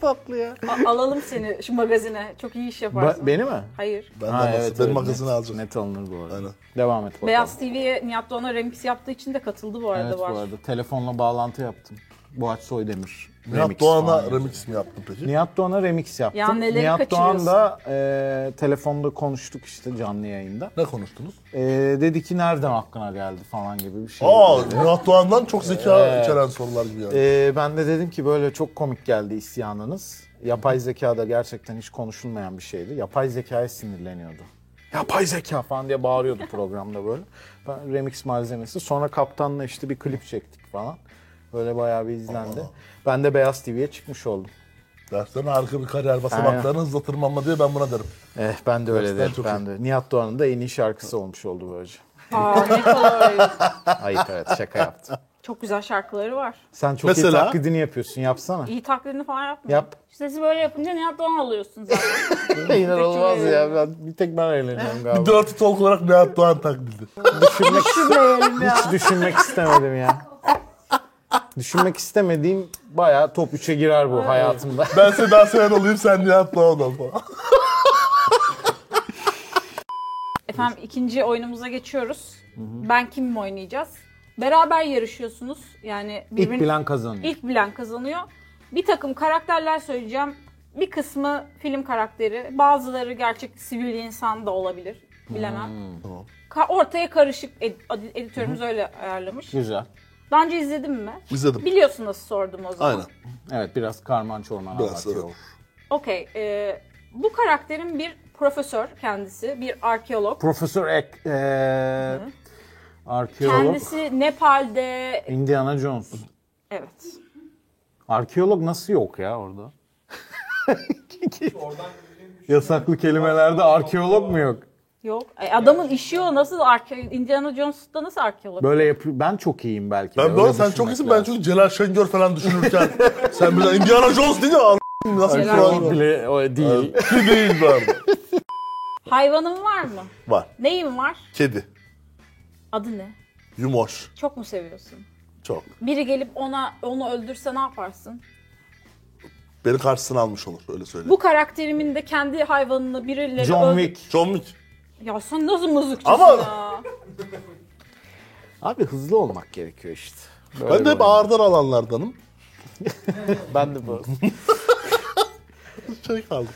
Speaker 1: Tatlı ya.
Speaker 3: A- alalım seni şu magazine. Çok iyi iş yaparsın.
Speaker 1: beni mi?
Speaker 3: Hayır.
Speaker 2: Ben de evet, benim magazini
Speaker 1: net,
Speaker 2: alacağım.
Speaker 1: Net alınır bu arada.
Speaker 2: Aynen.
Speaker 1: Devam et bakalım.
Speaker 3: Beyaz TV'ye Nihat Doğan'a remix yaptığı için de katıldı bu arada
Speaker 1: Evet bu
Speaker 3: var.
Speaker 1: arada. Telefonla bağlantı yaptım. Boğaç Soydemir.
Speaker 2: Nihat
Speaker 1: Remix
Speaker 2: Doğan'a
Speaker 1: falan.
Speaker 2: remix mi yaptın peki?
Speaker 1: Nihat Doğan'a remix yaptım.
Speaker 3: Ya neleri
Speaker 1: Nihat Doğan
Speaker 3: kaçırıyorsun?
Speaker 1: da e, telefonda konuştuk işte canlı yayında.
Speaker 2: Ne konuştunuz?
Speaker 1: E, dedi ki nereden aklına geldi falan gibi bir şey.
Speaker 2: Aa, Nihat Doğan'dan çok zeka içeren sorular gibi yani.
Speaker 1: E, ben de dedim ki böyle çok komik geldi isyanınız. Yapay zeka da gerçekten hiç konuşulmayan bir şeydi. Yapay zekaya sinirleniyordu. Yapay zeka falan diye bağırıyordu programda böyle. Ben remix malzemesi. Sonra kaptanla işte bir klip çektik falan. Böyle bayağı bir izlendi. Ben de Beyaz TV'ye çıkmış oldum.
Speaker 2: Dersten harika bir kariyer basamaklarını hızla tırmanma diye ben buna derim.
Speaker 1: Eh, ben de öyle
Speaker 2: Gerçekten
Speaker 1: derim.
Speaker 2: çok
Speaker 1: Ben de. Nihat Doğan'ın da en iyi şarkısı olmuş oldu böylece.
Speaker 3: Aa,
Speaker 2: <laughs>
Speaker 3: ne kadar ayıp.
Speaker 1: Ayıp evet şaka yaptım.
Speaker 3: Çok güzel şarkıları var.
Speaker 1: Sen çok iyi
Speaker 2: Mesela?
Speaker 1: taklidini yapıyorsun yapsana.
Speaker 3: İyi taklidini falan yapma.
Speaker 1: Yap.
Speaker 3: Sesi böyle yapınca Nihat Doğan oluyorsun
Speaker 1: <laughs>
Speaker 3: zaten.
Speaker 1: İnanılmaz ya. Ben, bir tek ben eğleniyorum
Speaker 2: Bir
Speaker 1: galiba.
Speaker 2: dirty talk olarak Nihat Doğan taklidi.
Speaker 1: Düşünmek, hiç düşünmek istemedim ya. Düşünmek istemediğim bayağı top 3'e girer bu hayatımda.
Speaker 2: Ben Seda Sayan olayım sen Nihat Doğan ol falan.
Speaker 3: <laughs> Efendim ikinci oyunumuza geçiyoruz. Ben kimim oynayacağız? Beraber yarışıyorsunuz. Yani
Speaker 1: İlk
Speaker 3: birbirini
Speaker 1: bilen kazanıyor.
Speaker 3: İlk bilen kazanıyor. Bir takım karakterler söyleyeceğim. Bir kısmı film karakteri, bazıları gerçek sivil insan da olabilir. Bilemem.
Speaker 2: Hmm,
Speaker 3: Ka- ortaya karışık ed- ed- editörümüz öyle ayarlamış.
Speaker 1: Güzel.
Speaker 3: Daha önce izledin mi?
Speaker 2: İzledim.
Speaker 3: Biliyorsun nasıl sordum o zaman.
Speaker 2: Aynen.
Speaker 1: Evet biraz karman çorman
Speaker 2: Biraz
Speaker 1: anlatıyor.
Speaker 2: evet.
Speaker 3: Okey. e, bu karakterin bir profesör kendisi, bir arkeolog.
Speaker 1: Profesör Ek, eee, arkeolog
Speaker 3: Kendisi Nepal'de...
Speaker 1: Indiana Jones.
Speaker 3: Evet.
Speaker 1: Arkeolog nasıl yok ya
Speaker 2: <laughs>
Speaker 1: orada? Yasaklı kelimelerde arkeolog mu yok?
Speaker 3: Yok. E, adamın işi o. Nasıl arke- Indiana Jones'ta nasıl arkeolog?
Speaker 1: Böyle yapıyor. Ben çok iyiyim belki. de,
Speaker 2: Ben bu
Speaker 1: öyle
Speaker 2: arada sen çok
Speaker 1: düşünmek
Speaker 2: iyisin. Ben
Speaker 1: lazım.
Speaker 2: çünkü Celal Şengör falan düşünürken <laughs> sen birden Indiana Jones dedi ya. Nasıl bir
Speaker 3: Celal
Speaker 2: kural var?
Speaker 1: bile o değil.
Speaker 2: Ki değil bu arada.
Speaker 3: Hayvanın var mı?
Speaker 2: Var.
Speaker 3: Neyin var?
Speaker 2: Kedi.
Speaker 3: Adı ne?
Speaker 2: Yumoş.
Speaker 3: Çok mu seviyorsun?
Speaker 2: Çok.
Speaker 3: Biri gelip ona onu öldürse ne yaparsın?
Speaker 2: Beni karşısına almış olur öyle söyleyeyim.
Speaker 3: Bu karakterimin de kendi hayvanını birileri
Speaker 1: John
Speaker 3: öldür-
Speaker 1: Wick.
Speaker 2: John Wick.
Speaker 3: Ya sen nasıl mızıkçısın
Speaker 2: Ama-
Speaker 3: ya?
Speaker 1: Abi hızlı olmak gerekiyor işte. Böyle
Speaker 2: Ben de hep
Speaker 1: böyle.
Speaker 2: ağırdan alanlardanım.
Speaker 1: Ben de bu.
Speaker 2: Şey kaldım.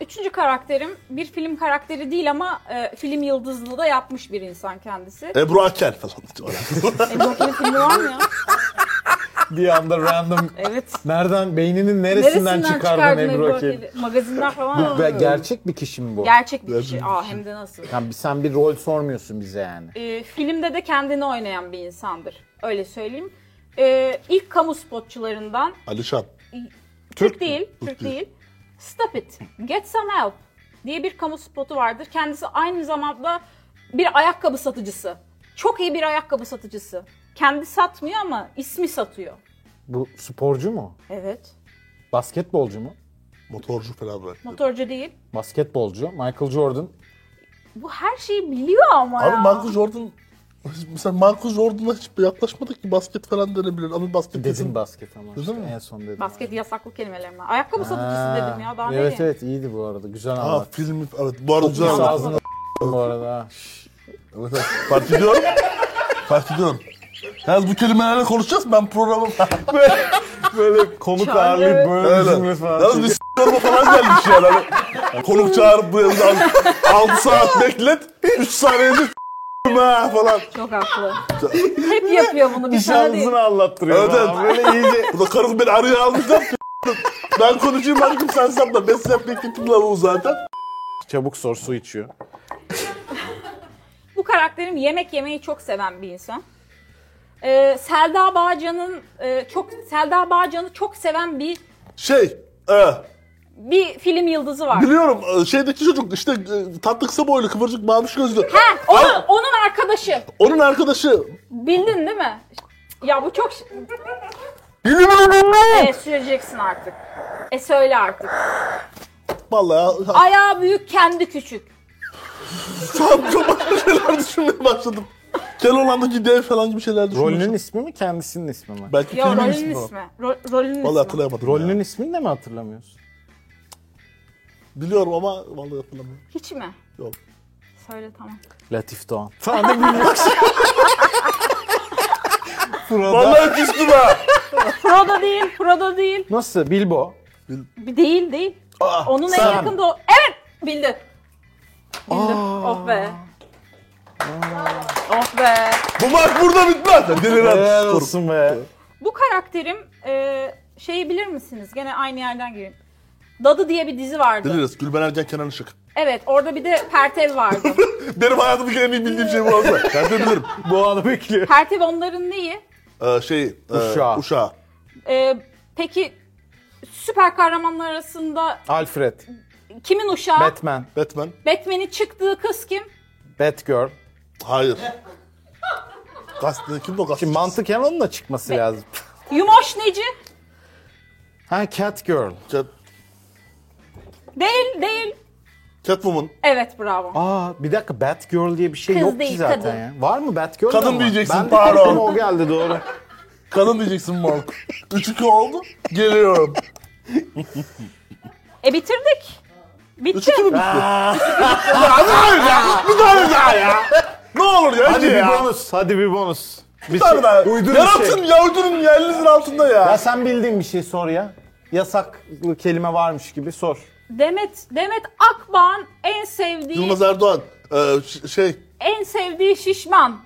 Speaker 3: Üçüncü karakterim bir film karakteri değil ama e, film yıldızlı da yapmış bir insan kendisi.
Speaker 2: Ebru Akel falan. <laughs>
Speaker 3: E, Joker'in filmi var mı ya?
Speaker 1: <laughs> bir anda random
Speaker 3: Evet.
Speaker 1: nereden beyninin neresinden,
Speaker 3: Neresinden
Speaker 1: çıkardın
Speaker 3: çıkardın
Speaker 1: Ebru
Speaker 3: Ebru
Speaker 1: Akil?
Speaker 3: Akeli? Magazinler falan
Speaker 1: Ve
Speaker 3: var.
Speaker 1: gerçek bir kişi mi bu?
Speaker 3: Gerçek bir
Speaker 2: Gerçek
Speaker 3: kişi.
Speaker 2: bir
Speaker 3: Aa hem de nasıl?
Speaker 1: Yani sen bir rol sormuyorsun bize yani.
Speaker 3: E, filmde de kendini oynayan bir insandır. Öyle söyleyeyim. E, ilk kamu spotçularından
Speaker 2: Alişan.
Speaker 3: Türk, değil, Türk,
Speaker 2: Türk
Speaker 3: değil.
Speaker 2: değil.
Speaker 3: Stop it, get some help diye bir kamu spotu vardır. Kendisi aynı zamanda bir ayakkabı satıcısı. Çok iyi bir ayakkabı satıcısı. Kendi satmıyor ama ismi satıyor.
Speaker 1: Bu sporcu mu?
Speaker 3: Evet.
Speaker 1: Basketbolcu mu?
Speaker 2: Motorcu falan böyle.
Speaker 3: Motorcu değil.
Speaker 1: Basketbolcu. Michael Jordan.
Speaker 3: Bu her şeyi biliyor ama
Speaker 2: Abi
Speaker 3: ya.
Speaker 2: Marcus Jordan Mesela Marcus Jordan'a hiç yaklaşmadık ki basket falan denebilir. Ama basket
Speaker 1: Dedim
Speaker 2: kesin.
Speaker 1: basket ama. işte,
Speaker 2: mi?
Speaker 1: En son dedim.
Speaker 3: Basket yasaklı kelimelerimle. Ayakkabı
Speaker 1: Ha, Ah,
Speaker 3: satıcısı dedim ya daha
Speaker 1: evet
Speaker 3: nereye?
Speaker 1: evet iyiydi bu arada. Güzel
Speaker 2: Ha
Speaker 1: anlat.
Speaker 2: filmi evet bu arada güzel
Speaker 1: Sağ
Speaker 2: anlattın.
Speaker 1: ağzını bu arada. <laughs> ha.
Speaker 2: Evet, evet. Fark ediyorum. Fark ediyorum. Yalnız bu kelimelerle konuşacağız. Ben programı...
Speaker 1: Böyle konuk
Speaker 3: Çağrı. ağırlayıp böyle
Speaker 2: Öyle. Yalnız bir s**yorma falan gelmiş yani. Hani konuk çağırıp bu evden 6 saat beklet. 3 saniyede s**yorma ha falan.
Speaker 1: Şey
Speaker 3: Çok haklı. Hep yapıyor bunu bir sana değil.
Speaker 1: anlattırıyor.
Speaker 2: Evet,
Speaker 1: falan.
Speaker 2: evet.
Speaker 1: Böyle iyice.
Speaker 2: Bu da karım beni arıyor almışlar. ben konuşayım artık sen sapla. Ben size bekletim lan o zaten.
Speaker 1: Çabuk sor su içiyor.
Speaker 3: Bu karakterim yemek yemeyi çok seven bir insan. Ee, Selda Bağcan'ın e, çok Selda Bağcan'ı çok seven bir
Speaker 2: Şey, e,
Speaker 3: bir film yıldızı var.
Speaker 2: biliyorum e, şeydeki çocuk işte e, tatlı kısa boylu kıvırcık maviş gözlü.
Speaker 3: Ha, onun, onun arkadaşı.
Speaker 2: Onun arkadaşı.
Speaker 3: Bildin değil mi? Ya bu çok ş- e, süreceksin artık. E söyle artık.
Speaker 2: Vallahi ya,
Speaker 3: Ayağı büyük, kendi küçük.
Speaker 2: tam çok başka şeyler düşünmeye başladım. Keloğlan'daki dev falan gibi şeyler düşünmüştüm.
Speaker 1: Rolünün ismi mi kendisinin ismi mi?
Speaker 2: Belki
Speaker 3: Ya
Speaker 2: filmin
Speaker 3: rolünün
Speaker 2: ismi. o.
Speaker 3: ismi. Ro- rolünün
Speaker 2: Vallahi
Speaker 3: ismi.
Speaker 2: hatırlayamadım
Speaker 1: Rolünün
Speaker 2: ya.
Speaker 1: ismini de mi hatırlamıyorsun?
Speaker 2: Biliyorum ama vallahi hatırlamıyorum.
Speaker 3: Hiç mi?
Speaker 2: Yok.
Speaker 3: Söyle tamam.
Speaker 1: Latif Doğan. <laughs> Sen de bilmiyorsun. Frodo.
Speaker 2: Vallahi küstüm <laughs> ha.
Speaker 3: Frodo değil, Frodo değil.
Speaker 1: Nasıl? Bilbo.
Speaker 3: Bir Değil değil.
Speaker 2: Aa,
Speaker 3: Onun en
Speaker 2: sen.
Speaker 3: yakında o. Evet! Bildi. Bildi. Oh be. Oh be.
Speaker 2: Bu maç burada bitmez.
Speaker 1: Helal
Speaker 2: Deliren.
Speaker 1: olsun be.
Speaker 3: Bu karakterim e, şeyi bilir misiniz? Gene aynı yerden gireyim. Dadı diye bir dizi vardı.
Speaker 2: Deliriz. Gülben Ergen Kenan Işık.
Speaker 3: Evet orada bir de Pertev vardı.
Speaker 2: Benim hayatımdaki en iyi bildiğim şey bu aslında. <laughs> Ben de bilirim.
Speaker 1: Bu anı bekliyor.
Speaker 3: Pertev onların neyi?
Speaker 2: Ee, şey, e,
Speaker 1: Uşağı.
Speaker 2: Uşağı.
Speaker 3: E, peki süper kahramanlar arasında
Speaker 1: Alfred,
Speaker 3: kimin uşağı?
Speaker 1: Batman,
Speaker 2: Batman.
Speaker 3: Batman'in çıktığı kız kim?
Speaker 1: Batgirl.
Speaker 2: Hayır. Gazete kimdi o gazeteci?
Speaker 1: Şimdi mantıken onunla çıkması lazım.
Speaker 3: Yumoş Neci?
Speaker 1: Ha Catgirl.
Speaker 2: Cat,
Speaker 3: Değil, değil.
Speaker 2: Catwoman.
Speaker 3: Evet bravo.
Speaker 1: Aa bir dakika Batgirl diye bir şey
Speaker 3: Kız
Speaker 1: yok ki
Speaker 3: değil,
Speaker 1: zaten
Speaker 3: kadın.
Speaker 1: ya. Var mı Batgirl?
Speaker 2: Kadın
Speaker 1: da mı?
Speaker 2: diyeceksin,
Speaker 1: ben de
Speaker 2: pardon.
Speaker 1: aklıma o geldi doğru.
Speaker 2: Kadın diyeceksin Mark. 3-2 oldu. Geliyorum.
Speaker 3: E bitirdik. Bitti.
Speaker 2: 3-2 mi bitti? Ya ne olur ya? Bir tane daha ya. Ne olur
Speaker 1: <laughs>
Speaker 2: ya.
Speaker 1: Hadi bir
Speaker 2: ya.
Speaker 1: bonus, hadi bir bonus. Bir
Speaker 2: Bir tane daha.
Speaker 1: Uydurun bir
Speaker 2: Yaratın
Speaker 1: şey.
Speaker 2: ya uydurun ya elinizin altında
Speaker 1: Ya
Speaker 2: ya.
Speaker 1: sen bildiğin bir şey sor ya. Yasaklı kelime varmış gibi sor.
Speaker 3: Demet Demet Akbağ'ın en sevdiği
Speaker 2: Yılmaz Erdoğan. Ee, ş- şey.
Speaker 3: en sevdiği şişman.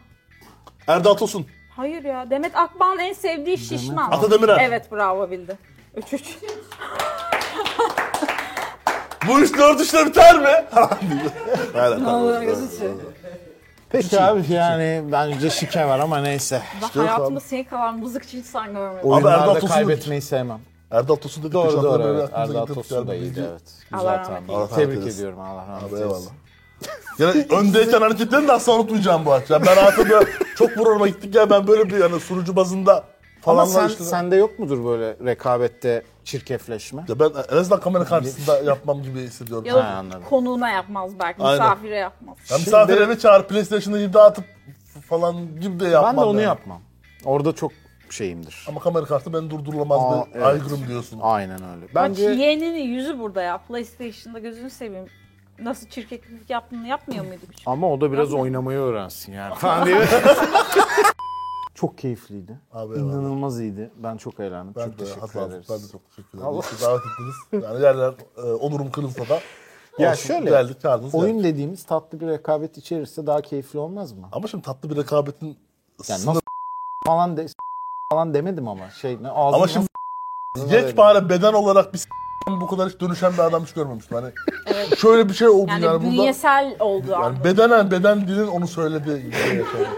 Speaker 2: Erdal Tosun.
Speaker 3: Hayır ya. Demet Akbağ'ın en sevdiği şişman.
Speaker 2: Ata Demirer.
Speaker 3: Evet bravo bildi. 3 3.
Speaker 2: Bu iş dört işle biter mi? <laughs> Aynen tamam.
Speaker 1: Peki abi yani bence şike var ama neyse.
Speaker 3: Ben hayatımda seni kadar mızıkçı insan görmedim.
Speaker 2: Erdal
Speaker 1: Oyunlarda
Speaker 2: Tosun'u-
Speaker 1: kaybetmeyi sevmem.
Speaker 2: Erdal Tosun dedik.
Speaker 1: Doğru
Speaker 2: Şu anda
Speaker 1: doğru
Speaker 2: böyle
Speaker 1: evet.
Speaker 2: aklımıza
Speaker 1: Erdal
Speaker 2: gidip
Speaker 1: Tosun da
Speaker 2: gelmedi.
Speaker 1: iyiydi evet.
Speaker 3: Allah
Speaker 1: Güzel
Speaker 3: rahmet
Speaker 1: tahmin.
Speaker 2: eylesin.
Speaker 1: Tebrik
Speaker 2: Eylesin.
Speaker 1: ediyorum Allah rahmet
Speaker 2: Abi, eyvallah.
Speaker 1: eylesin.
Speaker 2: Yani öndeyken hareketlerini de asla unutmayacağım bu akşam. Ben hayatımda çok programa gittik ya ben böyle bir yani sunucu bazında
Speaker 1: Ama
Speaker 2: falan
Speaker 1: sen,
Speaker 2: işte.
Speaker 1: sende yok mudur böyle rekabette çirkefleşme?
Speaker 2: Ya ben en azından kamera karşısında yapmam gibi hissediyorum.
Speaker 3: Ya da
Speaker 1: Ha, anladım.
Speaker 3: konuğuna yapmaz belki.
Speaker 2: Aynen.
Speaker 3: Misafire yapmaz.
Speaker 2: Ya misafir eve çağır, PlayStation'da imza atıp falan gibi de yapmam.
Speaker 1: Ben de onu
Speaker 2: yani.
Speaker 1: yapmam. Orada çok şeyimdir.
Speaker 2: Ama kamera karşısında beni durdurulamaz
Speaker 1: Aa,
Speaker 2: bir
Speaker 1: evet.
Speaker 2: aygırım diyorsun.
Speaker 1: Aynen öyle.
Speaker 3: Bence...
Speaker 1: Bence
Speaker 3: yeğeninin yüzü burada ya. PlayStation'da gözünü seveyim. Nasıl çirkeklik yaptığını yapmıyor muyduk? hiç?
Speaker 1: ama o da biraz oynamayı öğrensin
Speaker 2: <laughs>
Speaker 1: yani falan diye. <laughs> çok keyifliydi.
Speaker 2: Abi eyvallah.
Speaker 1: İnanılmaz iyiydi. Ben çok eğlendim.
Speaker 2: Ben
Speaker 1: çok
Speaker 2: de
Speaker 1: teşekkür
Speaker 2: hatta
Speaker 1: ederiz.
Speaker 2: ben de çok teşekkür ederim.
Speaker 1: Allah-
Speaker 2: Siz davet
Speaker 1: <laughs>
Speaker 2: ettiniz. Yani yerler e, onurum kırılsa da.
Speaker 1: Ya
Speaker 2: olsun,
Speaker 1: şöyle,
Speaker 2: Geldik çağırdınız.
Speaker 1: Oyun
Speaker 2: geldik.
Speaker 1: dediğimiz tatlı bir rekabet içerirse daha keyifli olmaz mı?
Speaker 2: Ama şimdi tatlı bir rekabetin
Speaker 1: Yani
Speaker 2: sınırı-
Speaker 1: nasıl <laughs> falan de <laughs> falan demedim ama şey ne ağzım <laughs>
Speaker 2: Ama şimdi <laughs> yekpare beden olarak bir s- bu kadar hiç dönüşen bir adam hiç görmemiştim. Hani şöyle bir şey oldu yani,
Speaker 3: Yani,
Speaker 2: burada.
Speaker 3: bünyesel oldu
Speaker 2: Yani
Speaker 3: anladın.
Speaker 2: bedenen beden dilin onu söylediği gibi yaşadı.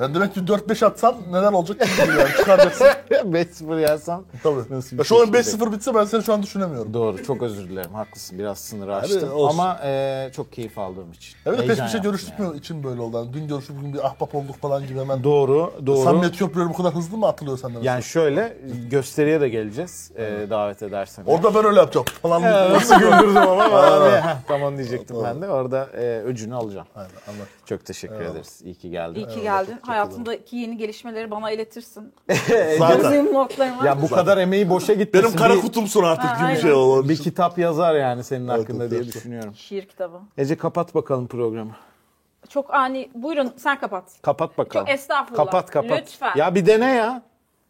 Speaker 2: Yani demek ki 4-5 atsan neler olacak ki yani çıkaracaksın.
Speaker 1: 5-0 yersen
Speaker 2: Tabii.
Speaker 1: Nasıl bir
Speaker 2: ya şu oyun
Speaker 1: şekilde?
Speaker 2: 5-0 bitse ben seni şu an düşünemiyorum.
Speaker 1: Doğru çok özür dilerim haklısın biraz sınırı aştım
Speaker 2: olsun.
Speaker 1: ama e, çok keyif aldığım için.
Speaker 2: Evet de peş
Speaker 1: Heyecan
Speaker 2: peşe
Speaker 1: yaptım
Speaker 2: görüştük
Speaker 1: yani.
Speaker 2: mü için böyle oldu. Yani dün görüşüp bugün bir ahbap olduk falan gibi hemen.
Speaker 1: Doğru doğru.
Speaker 2: Samimiyet köprüleri bu kadar hızlı mı atılıyor senden?
Speaker 1: Yani şöyle gösteriye de geleceğiz e, davet edersen.
Speaker 2: Orada ben öyle yapacağım falan. diye.
Speaker 1: Nasıl güldürdüm ama
Speaker 2: Aa.
Speaker 1: abi. Heh, tamam diyecektim ben de. Orada e, öcünü alacağım.
Speaker 2: Aynen anlat.
Speaker 1: Çok teşekkür ederiz. İyi ki geldin.
Speaker 3: İyi ki geldin. Hayatımdaki yeni gelişmeleri bana iletirsin.
Speaker 2: Zaten.
Speaker 3: E, Gözüm notlarıma.
Speaker 1: Ya bu kadar emeği boşa gitmesin.
Speaker 2: Benim kara
Speaker 1: bir,
Speaker 2: kutumsun artık gibi bir
Speaker 3: aynen.
Speaker 2: şey olur.
Speaker 1: bir kitap yazar yani senin hakkında
Speaker 2: evet,
Speaker 1: diye
Speaker 2: evet.
Speaker 1: düşünüyorum.
Speaker 3: Şiir kitabı.
Speaker 1: Ece kapat bakalım programı.
Speaker 3: Çok ani. Buyurun sen kapat.
Speaker 1: Kapat bakalım.
Speaker 3: Estağfurullah.
Speaker 1: Kapat kapat.
Speaker 3: Lütfen. Ya,
Speaker 1: Ya bir dene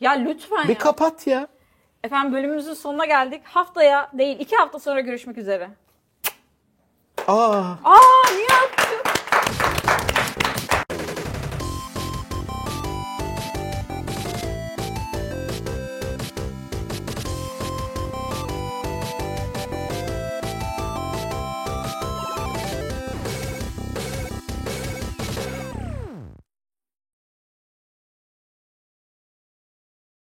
Speaker 1: ya.
Speaker 3: lütfen
Speaker 1: Bir
Speaker 3: ya.
Speaker 1: kapat ya.
Speaker 3: Efendim bölümümüzün sonuna geldik. Haftaya değil iki hafta sonra görüşmek üzere.
Speaker 1: Aa.
Speaker 3: Aa niye yaptın?